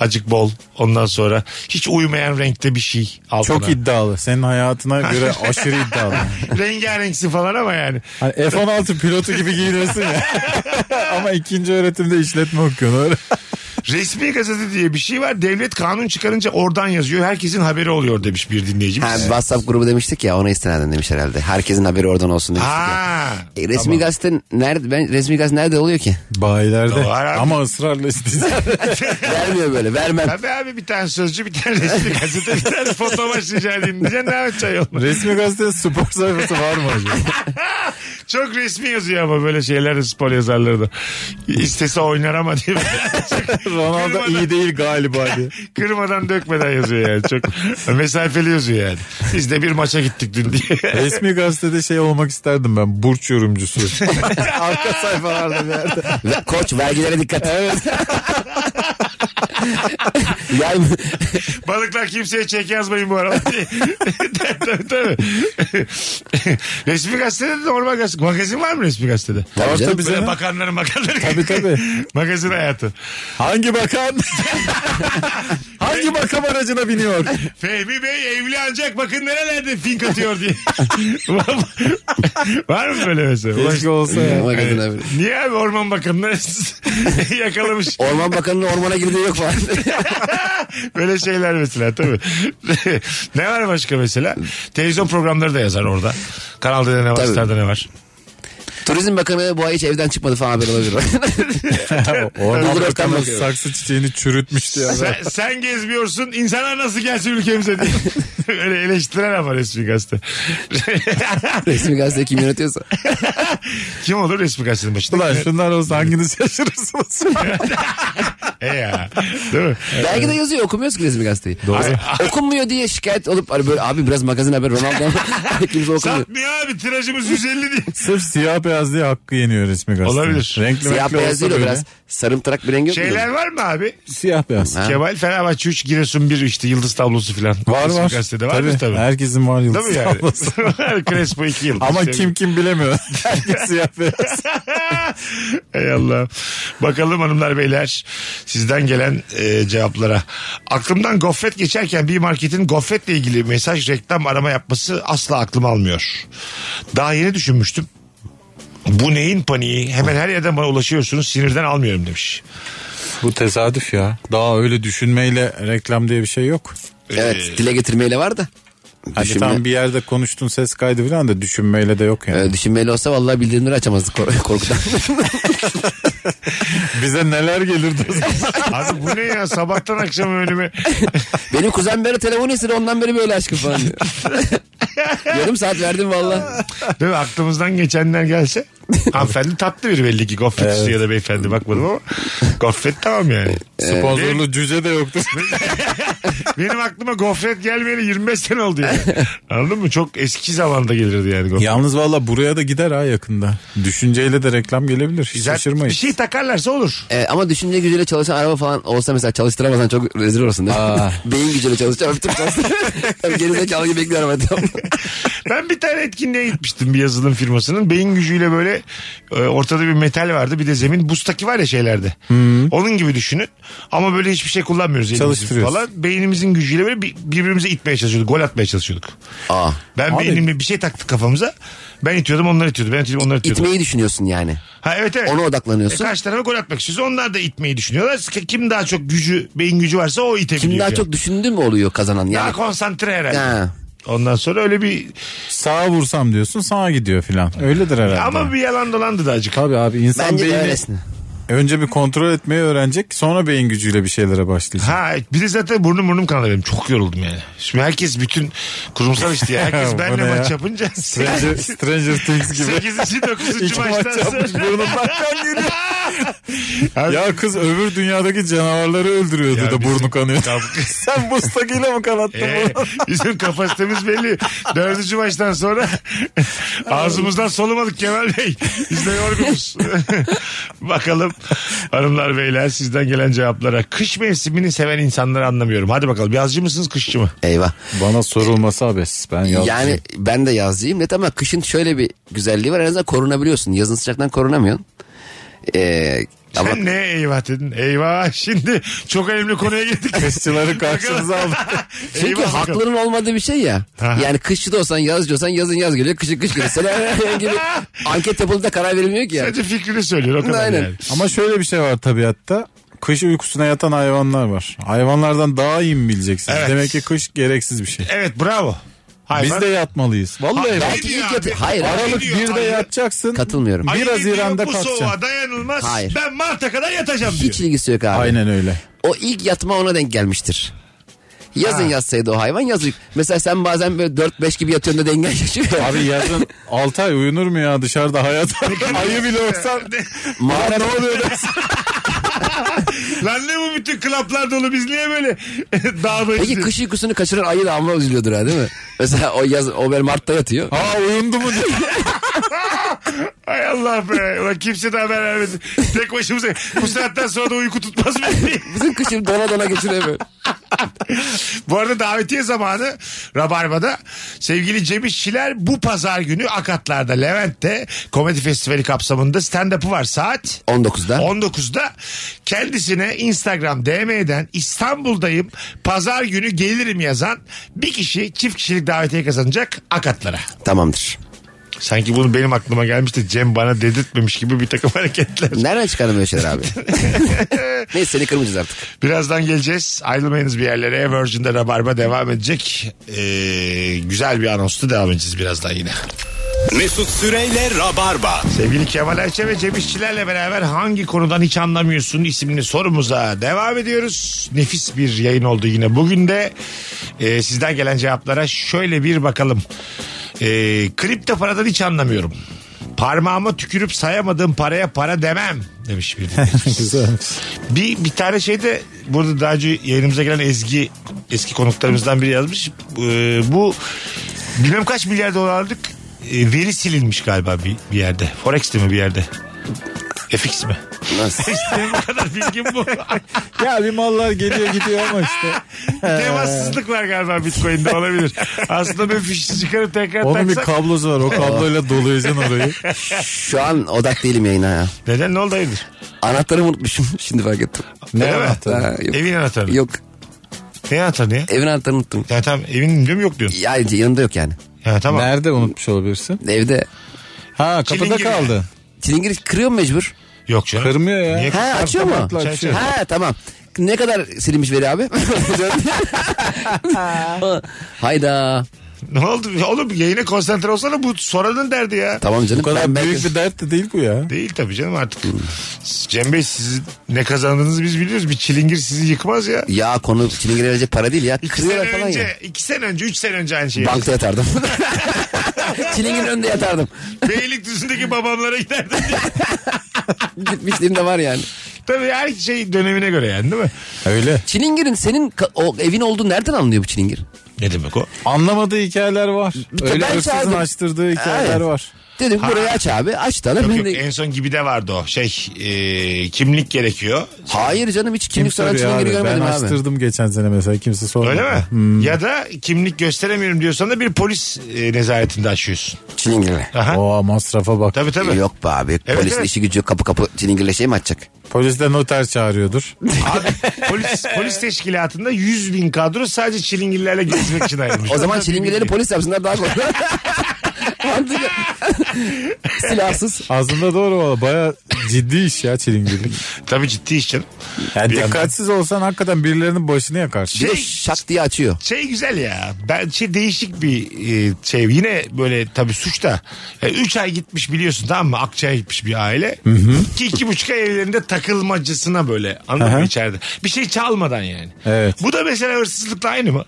acık bol ondan sonra hiç uymayan renkte bir şey altına.
Çok iddialı. Senin hayatına göre aşırı iddialı.
Rengarenksin falan ama yani.
Hani F-16 pilotu gibi giyiniyorsun ya. Ama ikinci öğretimde işletme okuyorsun öyle.
Resmi gazete diye bir şey var. Devlet kanun çıkarınca oradan yazıyor. Herkesin haberi oluyor demiş bir dinleyicimiz.
Ha, WhatsApp grubu demiştik ya ona istinaden demiş herhalde. Herkesin haberi oradan olsun demiştik ya.
Ha.
E, resmi gazete nerede? Ben resmi gazete nerede oluyor ki?
Bayilerde.
Doğru abi.
Ama ısrarla isteyeceğim.
Vermiyor böyle. Vermem.
Tabii abi bir tane sözcü bir tane resmi gazete bir tane foto baş rica edeyim diyeceksin ne yapacaksın yoluna?
Resmi gazete spor sayfası var mı acaba?
Çok resmi yazıyor ama böyle şeyler de spor yazarları da. İstese oynar ama diye.
Ronaldo iyi değil galiba diye.
Kırmadan dökmeden yazıyor yani. Çok mesafeli yazıyor yani. Biz de bir maça gittik dün diye.
Resmi gazetede şey olmak isterdim ben. Burç yorumcusu. Arka sayfalarda bir yerde.
Ve- Koç vergilere dikkat. Evet. yani,
Balıklar kimseye çek yazmayın bu arada diye. tabii tabii. tabii. resmi gazetede de normal gazete. Magazin var mı resmi gazetede?
Tabii canım.
Orta bize
Böyle
ne?
bakanların bakanları.
Tabii, tabii.
Magazin hayatı.
Hangi bakan? Hangi makam aracına biniyor?
Fehmi Bey evli ancak bakın nerelerde fink atıyor diye. Var mı- Var mı böyle mesela? Ulan-
Keşke olsa ya.
magazin haberi.
Niye abi Orman Bakanı'nı yakalamış.
Orman Bakanı'nın ormana girdiği yok var.
Böyle şeyler mesela tabii. ne var başka mesela? Televizyon programları da yazar orada. Kanalda ne var,
Tabii.
Star'da ne var.
Turizm Bakanı bu ay hiç evden çıkmadı falan haberi olabilir.
Orman
Öldürüp
bakanı
bakıyor.
saksı çiçeğini çürütmüştü ya.
Sen, sen gezmiyorsun, insanlar nasıl gelsin ülkemize diye. Öyle eleştiren ama resmi gazete.
resmi gazete kim yönetiyorsa.
Kim olur resmi gazetenin başında?
Ulan şunlar olsa hanginiz şaşırırsınız?
E ya. Değil mi?
Belki de yazıyor okumuyoruz ki resmi gazeteyi. Okunmuyor diye şikayet olup hani böyle abi biraz magazin haber Ronaldo kimse okumuyor.
Satmıyor abi tirajımız 150 diye.
Sırf siyah beyaz diye hakkı yeniyor resmi gazete.
Olabilir.
Renkli
Siyah
renkli
beyaz
olsa
değil o
böyle.
biraz sarımtırak bir rengi yok
Şeyler
mu?
var mı abi?
Siyah beyaz.
Ha.
Kemal Fenerbahçe 3, Giresun 1 işte yıldız tablosu falan.
Var
Resmi
var.
Gazetede var mı tabii?
Herkesin var
Değil mi yani?
yıldız
şey-
tablosu.
Crespo 2 yıl.
Ama kim kim bilemiyor. Herkes siyah beyaz.
Ey Allah. Bakalım hanımlar beyler sizden gelen e, cevaplara. Aklımdan gofret geçerken bir marketin gofretle ilgili mesaj reklam arama yapması asla aklım almıyor. Daha yeni düşünmüştüm. Bu neyin paniği? Hemen her yerden bana ulaşıyorsunuz. Sinirden almıyorum demiş.
Bu tesadüf ya. Daha öyle düşünmeyle reklam diye bir şey yok.
Evet dile getirmeyle var da.
Hani
Düşünme-
tam bir yerde konuştun ses kaydı falan da düşünmeyle de yok yani.
Ee, düşünmeyle olsa vallahi bildirimleri açamazdık kor- korkudan.
Bize neler gelirdi o zaman.
Abi bu ne ya sabahtan akşam önüme.
Benim kuzen bana telefonu istedi ondan beri böyle aşkım falan diyor. Yarım saat verdim valla.
Değil mi? Aklımızdan geçenler gelse. Hanımefendi tatlı biri belli ki gofret istiyor ya da beyefendi bakmadım ama. Gofret tamam yani.
Sponsorlu cüce de yoktu.
Benim aklıma gofret gelmeyeli 25 sene oldu yani. Anladın mı? Çok eski zamanda gelirdi yani gofret.
Yalnız valla buraya da gider ha yakında. Düşünceyle de reklam gelebilir. Hiç
Güzel
şaşırmayın.
bir şey takarlarsa olur.
Ee, ama düşünce gücüyle çalışan araba falan olsa mesela çalıştıramazsan çok rezil olursun değil mi?
Aa.
Beyin gücüyle çalışacağım. Öptüm çalıştıracağım. Gerizekalı gibi bekliyor araba. tamam.
Ben bir tane etkinliğe gitmiştim bir yazılım firmasının. Beyin gücüyle böyle e, ortada bir metal vardı. Bir de zemin buztaki var ya şeylerde.
Hmm.
Onun gibi düşünün. Ama böyle hiçbir şey kullanmıyoruz. elimizi
Çalıştırıyoruz.
Falan. Beynimizin gücüyle böyle bir- birbirimize itmeye çalışıyorduk. Gol atmaya çalışıyorduk.
Aa,
Ben
Abi-
beynimle bir şey taktık kafamıza. Ben itiyordum onlar itiyordu. Ben itiyordum onlar itiyordu.
itmeyi düşünüyorsun yani.
Ha evet evet.
Ona
E,
odaklanıyorsun.
karşı tarafa gol atmak istiyoruz. Onlar da itmeyi düşünüyorlar. Kim daha çok gücü, beyin gücü varsa o itebiliyor.
Kim daha
yani.
çok düşündü mü oluyor kazanan?
Daha
Yani
konsantre herhalde.
Ha.
Ondan sonra öyle bir...
Sağa vursam diyorsun sağa gidiyor filan. Öyledir herhalde.
Ama bir yalan dolandı da acık.
Tabii abi insan
bence de
beyni
öylesine.
önce bir kontrol etmeyi öğrenecek sonra beyin gücüyle bir şeylere başlayacak.
Ha bir de zaten burnum burnum kanadı benim. Çok yoruldum yani. Şimdi herkes bütün kurumsal işte. ya. Herkes
Bu
benle
ne
maç
ya?
yapınca.
Stranger, Stranger Things gibi.
8. 9.
İki maç
maçtan
yapmış
sonra.
burnundan kan geliyor.
Abi,
Ya kız öbür dünyadaki canavarları öldürüyordu
Ya
da
bizim-
burnu kanıyor. Sen mustakıyla mı kanattın
Ee,
bunu?
bizim kapasitemiz belli. Dördüncü baştan sonra ağzımızdan solumadık Kemal Bey. Biz de yorgunuz. bakalım hanımlar beyler sizden gelen cevaplara. Kış mevsimini seven insanları anlamıyorum. Hadi bakalım yazcı mısınız kışçı mı?
Eyvah.
Bana sorulması abes. Ben
şey-
Yani ben de yazcıyım net ama kışın şöyle bir güzelliği var. En azından korunabiliyorsun. Yazın sıcaktan korunamıyorsun. Ee, ama
Sen ne eyvah dedin? Eyvah şimdi çok önemli konuya girdik.
Kışçıları karşınıza aldık.
çünkü
Eyvah bakalım.
hakların olmadığı bir şey ya.
Aha.
Yani kışçı da olsan yazcı olsan yazın yaz geliyor. Kışın kış geliyor. Sen gibi anket yapılıp da karar verilmiyor ki yani.
Sadece fikrini söylüyor o kadar
Aynen.
yani.
Ama şöyle bir şey var tabiatta. Kış uykusuna yatan hayvanlar var. Hayvanlardan daha iyi mi bileceksiniz?
Evet.
Demek ki kış gereksiz bir şey.
Evet bravo. Hayvan.
Biz de yatmalıyız. Vallahi
Hayır.
bak,
Belki
Ne diyor
ilk
abi?
yatı- Hayır.
Abi-
Aralık
diyor?
birde
Hayır.
yatacaksın.
Katılmıyorum.
Bir
Ayı diyor,
Haziran'da
Bu soğuğa
kalkacaksın.
dayanılmaz.
Hayır.
Ben Mart'a kadar yatacağım diyor.
Hiç ilgisi yok abi.
Aynen öyle.
O ilk yatma ona denk gelmiştir. Yazın
Ha.
yatsaydı o hayvan yazık. Mesela sen bazen böyle 4-5 gibi yatıyorsun da dengen şaşırıyor.
Abi yazın 6 ay uyunur mu ya dışarıda hayat? Ayı bile olsan
Mağara
ne oluyor?
Lan ne bu bütün klaplar dolu biz niye böyle dağdayız?
Peki kış uykusunu kaçıran ayı da amma üzülüyordur ha değil mi? Mesela o yaz o böyle Mart'ta yatıyor.
Aa uyundu mu diye.
Ay Allah be. Ulan kimse de haber vermedi. Tek başımıza. Bu saatten sonra da uyku tutmaz mı?
Bizim kışın dona dona geçiriyor böyle.
bu arada davetiye zamanı Rabarba'da sevgili Cemil Şiler bu pazar günü Akatlar'da Levent'te komedi festivali kapsamında stand-up'ı var saat
19'da.
19'da kendisine Instagram DM'den İstanbul'dayım pazar günü gelirim yazan bir kişi çift kişilik davetiye kazanacak akatlara.
Tamamdır.
Sanki bunu benim aklıma gelmişti Cem bana dedirtmemiş gibi bir takım hareketler.
Nereden çıkardın böyle şeyler abi? Neyse seni kırmayacağız artık.
Birazdan geleceğiz ayrılmayınız bir yerlere Virgin'de Rabarba devam edecek. Ee, güzel bir anonsla devam edeceğiz birazdan yine.
Mesut Süreyle Rabarba.
Sevgili Kemal Ayça ve Cem İşçilerle beraber hangi konudan hiç anlamıyorsun isimli sorumuza devam ediyoruz. Nefis bir yayın oldu yine. Bugün de e, sizden gelen cevaplara şöyle bir bakalım. E, kripto paradan hiç anlamıyorum. Parmağıma tükürüp sayamadığım paraya para demem demiş bir dinleyicimiz. bir, bir tane şey de burada daha önce yayınımıza gelen Ezgi eski konuklarımızdan biri yazmış. E, bu bilmem kaç milyar dolarlık e, veri silinmiş galiba bir, bir yerde. Forex'te mi bir yerde? FX mi?
Nasıl?
Benim bu kadar bilgim bu.
Ya bir mallar geliyor gidiyor ama işte.
Temassızlık var galiba Bitcoin'de olabilir. Aslında ben fişi çıkarıp tekrar
Onun bir
taksak.
kablosu var. O kabloyla dolayacaksın orayı.
Şu an odak değilim yayına ya.
Neden ne oldu hayırdır?
Anahtarımı unutmuşum. Şimdi fark ettim.
Ne
Öyle mi?
anahtarı?
Ha, yok.
Evin anahtarı.
yok.
Ne anahtarı ya?
Evin anahtarını unuttum.
Ya tamam evin diyorum yok diyorsun.
Yani yanımda yok yani.
Ya tamam.
Nerede unutmuş olabilirsin?
Evde.
Ha
Çilingir
kapıda
mi?
kaldı.
Çilingir kırıyor mu mecbur?
Yok canım.
Kırmıyor ya.
Niye-
He açıyor mu?
Kapakla açıyor.
Ha tamam. Ne kadar silinmiş veri abi? Hayda.
Ne oldu? Ya Oğlum yayına konsantre olsana bu soranın derdi ya.
Tamam canım.
Bu kadar
ben belki-
büyük bir dert de değil bu ya.
Değil tabii canım artık. Cem Bey siz ne kazandığınızı biz biliyoruz. Bir çilingir sizi yıkmaz ya.
Ya konu çilingire verecek para değil ya.
İki sene
Kırıyorlar falan
önce,
ya.
iki sene önce, üç sene önce aynı şeyi.
Bankta yatardım. Çilingirin önünde yatardım.
Beylikdüzü'ndeki babamlara giderdim.
Gitmişliğim de var yani.
Tabii her şey dönemine göre yani değil mi?
Öyle.
Çilingirin senin ka- o evin olduğu nereden anlıyor bu çilingir?
Ne demek o?
Anlamadığı hikayeler var.
tabii
Öyle
ben
hırsızın
çağırdım.
açtırdığı hikayeler
Evet.
var.
Dedim burayı aç abi. Aç da lan
Yok
ben
yok
de-
en son gibi de vardı o şey e, kimlik gerekiyor.
Hayır canım hiç
Kim
kimlik soran
soruyor
çilingiri
abi? Ben
görmedim abi.
açtırdım geçen sene mesela kimse sormadı.
Öyle mi?
Hmm.
Ya da kimlik gösteremiyorum diyorsan da bir polis e, nezaretinde açıyorsun.
Çilingirle.
Aha.
Oo masrafa bak.
Tabii tabii.
Yok be abi.
Evet,
Polisin
evet.
işi gücü yok. kapı kapı çilingirle şey mi açacak?
Polis de noter çağırıyordur.
Abi, polis, polis teşkilatında 100 bin kadro sadece çilingirlerle gezmek için ayrılmış.
O zaman çilingirleri polis yapsınlar daha kolay. Mantıklı. Silahsız.
Aslında doğru valla baya ciddi iş ya çilingirlik.
Tabii ciddi iş canım.
Yani
Bir yandan-
dikkatsiz olsan hakikaten birilerinin başını yakarsın.
Bir de
Şey-
şak diye açıyor.
Şey güzel ya. Ben şey değişik bir e, şey yine böyle tabii suç da. 3 ay gitmiş biliyorsun tamam mı? Akçay'a gitmiş bir aile. İki, iki buçuk ay evlerinde takılmacısına böyle anladın mı
Aha.
içeride? Bir şey çalmadan yani.
Evet.
Bu da mesela hırsızlıkla aynı mı?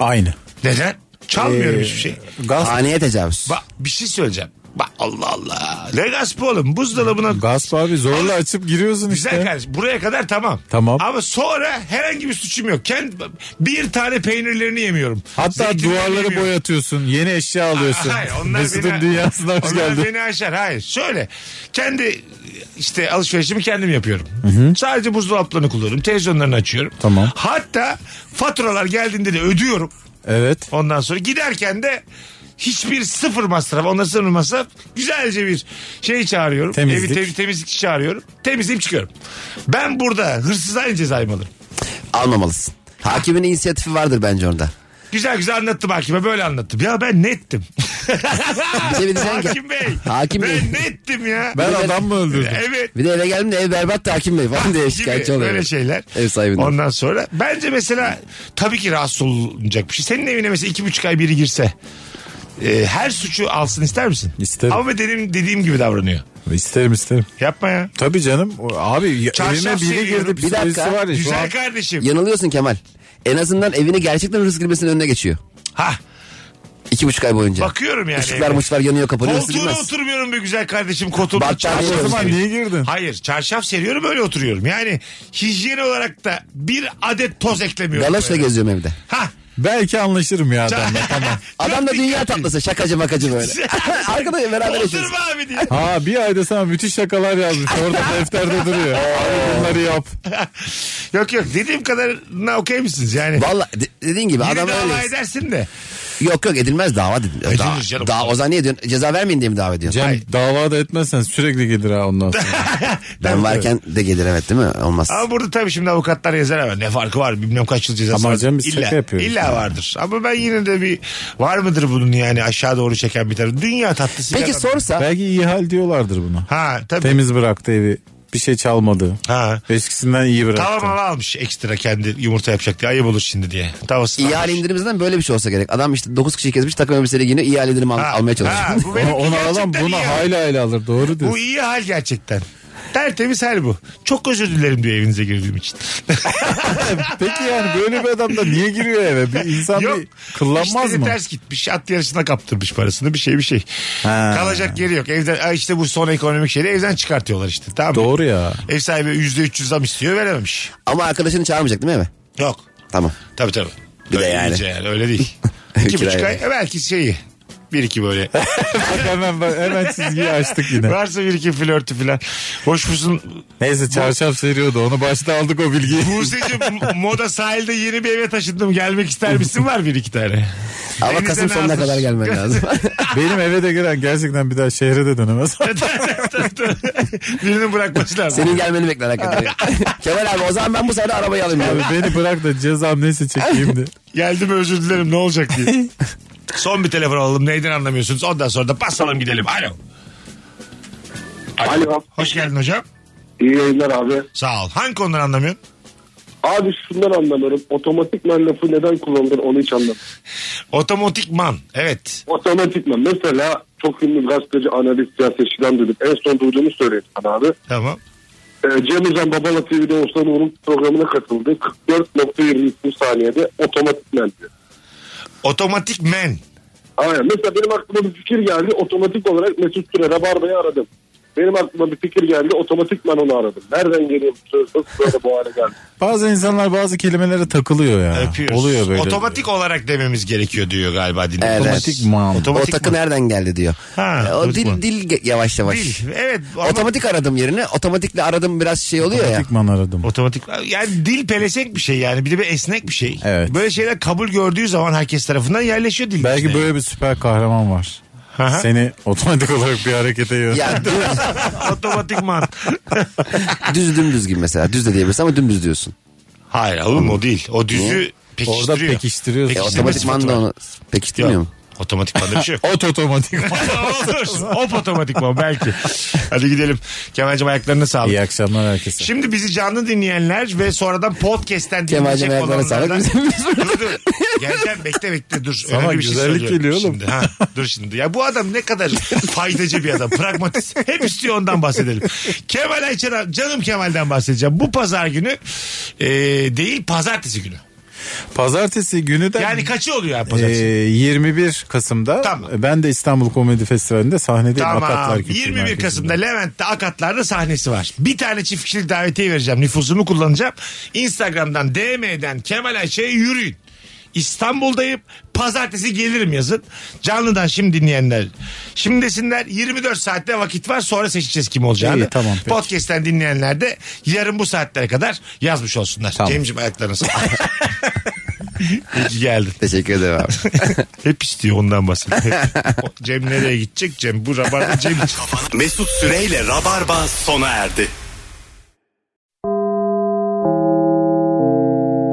Aynı.
Neden? Çalmıyorum
Ee,
hiçbir şey.
Gasp
Haneye tecavüz.
Bak bir şey söyleyeceğim. Bak Allah Allah. Ne gasp oğlum? Buzdolabına
Gasp abi zorla açıp giriyorsun işte.
Güzel kardeşim. Buraya kadar tamam.
Tamam.
Ama sonra herhangi bir suçum yok. Kend, bir tane peynirlerini yemiyorum.
Hatta
Zeytinlerini
duvarları
yemiyorum.
boyatıyorsun. Yeni eşya alıyorsun.
Ha- Hayır, onlar
Mesut'un
beni,
dünyasına hoş
onlar
geldin.
beni aşar. Hayır. Şöyle. Kendi işte alışverişimi kendim yapıyorum. Sadece buzdolaplarını kullanıyorum. Televizyonlarını açıyorum.
Tamam.
Hatta faturalar geldiğinde de ödüyorum.
Evet.
Ondan sonra giderken de hiçbir sıfır masraf, onları sıfır masraf. Güzelce bir şey çağırıyorum.
Temizlik.
Evi te- temizlikçi çağırıyorum. Temizleyip çıkıyorum. Ben burada hırsız aynı cezayı mı alırım?
Almamalısın. Hakimin inisiyatifi vardır bence orada.
Güzel güzel anlattım hakime böyle anlattım. Ya ben nettim.
Bize bir diyeceksin ki-
Hakim Bey.
Hakim Bey.
Ben nettim ya.
Ben adam mı öldürdüm?
Evet.
Bir de eve geldim de ev berbat da hakim bey falan diye şikayetçi
Gibi
oluyor.
böyle şeyler.
Ev sahibinden.
Ondan sonra bence mesela tabii ki rahatsız olunacak bir şey. Senin evine mesela iki buçuk ay biri girse e, her suçu alsın ister misin?
İsterim.
Ama benim dediğim gibi davranıyor.
İsterim isterim.
Yapma ya.
Tabii canım. O- Abi ya-
Çarşaf
evime biri
seviyorum.
girdi.
Bir
psikolojisi
dakika.
Var ya, şu
Güzel
an-
kardeşim.
Yanılıyorsun Kemal. En azından evine gerçekten hırsız girmesinin önüne geçiyor.
Ha
İki buçuk ay boyunca.
bakıyorum yani.
Işıklar
evde.
mışlar yanıyor kapanıyor. hırsız
Koltuğuna
girmez.
oturmuyorum be güzel kardeşim. Koltuğuna
Battaniye
çarşaf
o zaman
seriyorum.
niye girdin?
Hayır çarşaf seriyorum öyle oturuyorum. Yani hijyen olarak da bir adet toz eklemiyorum.
Galoşla
böyle.
geziyorum evde.
Ha.
Belki anlaşırım ya adamla tamam.
Adam da
Çok
dünya
dikkat-
tatlısı şakacı makacı böyle. Arkada beraber yaşıyoruz.
Oturma abi diye.
Ha bir ayda sana müthiş şakalar yazmış. Orada defterde duruyor. Abi bunları yap.
yok yok dediğim kadarına okey misiniz yani?
Valla de- dediğin gibi
Yine
adam
dava
öyle.
edersin de.
Yok yok edilmez dava dedim.
Edilir
Dava-
canım.
Dava, o zaman niye diyorsun? Ceza vermeyin diye mi dava ediyorsun?
Cem davada etmezsen sürekli gelir ha ondan sonra.
Ben varken de gelir evet değil mi? Olmaz.
Ama burada tabii şimdi avukatlar yazar ama ne farkı var bilmem kaç yıl cezası
Ama
var.
hocam biz şaka yapıyoruz
illa
yani.
vardır. Ama ben yine de bir var mıdır bunun yani aşağı doğru çeken bir tarafı. Dünya tatlısı.
Peki
yaratır.
sorsa
Belki iyi hal diyorlardır buna.
Ha tabii.
Temiz bıraktı evi. Bir şey çalmadı.
Ha.
Eskisinden iyi bıraktı.
Tava mava almış ekstra kendi yumurta yapacak diye ayıp olur şimdi diye. Tavası
ihale indirimizden böyle bir şey olsa gerek. Adam işte 9 kişi kesmiş takım elbiseyle giyiniyor ihale indirimi al- almaya çalışıyor.
bu
Ona,
benimki
ona alan
gerçekten
buna
iyi hal.
hayli hayli alır doğru diyorsun.
Bu iyi hal gerçekten. Tertemiz hal bu. Çok özür dilerim diyor evinize girdiğim için.
Peki yani böyle bir adam da niye giriyor eve? Bir insan
Yok.
bir kıllanmaz
İşleri
mı?
ters gitmiş. At yarışına kaptırmış parasını. Bir şey bir şey.
Ha.
Kalacak yeri yok. Evden "Ay işte bu son ekonomik şeyleri evden çıkartıyorlar işte. Tamam mı?
Doğru ya.
Ev sahibi %300 zam istiyor verememiş.
Ama arkadaşını çağırmayacak değil mi eve?
Yok.
Tamam.
Tabii tabii.
Bir de
Öyle
yani.
iyice Öyle değil. İki buçuk ay. e,
Kiraya.
Belki şeyi. Bir iki böyle.
Bak hemen bak, hemen çizgiyi açtık yine.
Varsa bir iki flörtü falan. Hoş musun?
Neyse çarşaf seriyordu onu başta aldık o bilgiyi.
Buse'cim moda sahilde yeni bir eve taşındım. Gelmek ister misin? Var bir iki tane.
Ama
Denize
Kasım sonuna
nazır.
kadar gelmen lazım.
Benim eve de giren gerçekten bir daha şehre de dönemez.
Birinin bırakması lazım.
Senin gelmeni bekler hakikaten. Kemal abi o zaman ben bu sefer arabayı alayım. diyor.
Abi beni bırak da cezam neyse çekeyim de.
Geldim özür dilerim ne olacak diye. Son bir telefon alalım neyden anlamıyorsunuz. Ondan sonra da basalım gidelim. Alo.
Alo.
Hoş geldin hocam.
İyi yayınlar abi.
Sağ ol. Hangi konudan anlamıyorsun?
Abi şundan anlamıyorum. Otomatikman lafı neden kullanılır onu hiç anlamıyorum.
Otomatikman. Evet.
Otomatikman. Mesela çok ünlü gazeteci, analist, siyasetçiden duydum. En son duyduğumu söyleyeyim sana abi.
Tamam.
Ee, Cem Uzan Babala TV'de Oğuzhan Uğur'un programına katıldı. 44.22 saniyede otomatikman diyor.
Otomatik men.
Aynen. Mesela benim aklıma bir fikir geldi. Otomatik olarak Mesut Süre Rabarba'yı aradım. Benim aklıma bir fikir geldi. Otomatikman onu aradım. Nereden geliyor bu söz? Nasıl böyle bu hale geldi?
Bazı insanlar bazı kelimelere takılıyor ya.
Öpüyoruz.
Oluyor böyle.
Otomatik olarak dememiz gerekiyor diyor galiba dinleyicimiz.
Evet.
Otomatik man.
O
Otomatik
takı
man.
nereden geldi diyor.
Ha,
E, o
otomatik
dil,
man.
dil ge- yavaş yavaş.
Değil. Evet. ama-
Otomatik aradım yerine otomatikle aradım biraz şey oluyor ya.
Otomatik man aradım.
Otomatik yani dil pelesek bir şey yani bir de bir esnek bir şey.
Evet.
Böyle şeyler kabul gördüğü zaman herkes tarafından yerleşiyor dil.
Belki
içine.
böyle bir süper kahraman var.
Aha.
Seni otomatik olarak bir harekete yönlendirir.
Ya düz,
otomatikman.
düz dümdüz gibi mesela. Düz de diyebilirsin ama dümdüz diyorsun.
Hayır oğlum o değil. O düzü
Niye?
pekiştiriyor.
Orada pekiştiriyorsun.
E,
İşte
otomatikman da onu pekiştirmiyor mu?
Otomatikman da bir şey yok.
Ot otomatik man.
Olur. Hop otomatikman belki. Hadi gidelim. Kemal'cim ayaklarına sağlık.
İyi akşamlar herkese.
Şimdi bizi canlı dinleyenler ve sonradan podcast'ten
Kemal'cim
dinleyecek
ayaklarına
olanlardan...
sağlık.
dur dur. Geleceğim bekle bekle dur.
Sana
Önemli bir şey
güzellik
söylüyorum
geliyor oğlum.
şimdi. Ha, dur şimdi. Ya bu adam ne kadar faydacı bir adam. Pragmatist. Hep istiyor ondan bahsedelim. Kemal Ayça'dan, canım Kemal'den bahsedeceğim. Bu pazar günü e, değil pazartesi günü.
Pazartesi günü de
Yani kaçı oluyor abi
e,
pazartesi?
21 Kasım'da
Tamam.
ben de İstanbul Komedi Festivali'nde sahnedeyim.
Tamam.
Akatlar Kültür
21
Merkezi'nde.
Kasım'da Levent'te Akatlar'da sahnesi var. Bir tane çift kişilik davetiye vereceğim. Nüfusumu kullanacağım. Instagram'dan DM'den Kemal Ayşe'ye yürüyün. İstanbul'dayım. Pazartesi gelirim yazın. Canlıdan şimdi dinleyenler. Şimdi desinler 24 saatte vakit var sonra seçeceğiz kim olacağını.
İyi, tamam, peki.
Podcast'ten dinleyenler de yarın bu saatlere kadar yazmış olsunlar.
Tamam.
Cemciğim ayaklarına sağlık. İyi ki geldin.
Teşekkür ederim abi.
Hep istiyor ondan bahsediyor. Hep. O Cem nereye gidecek? Cem bu rabarda Cem için.
Mesut Süreyle Rabarba sona erdi.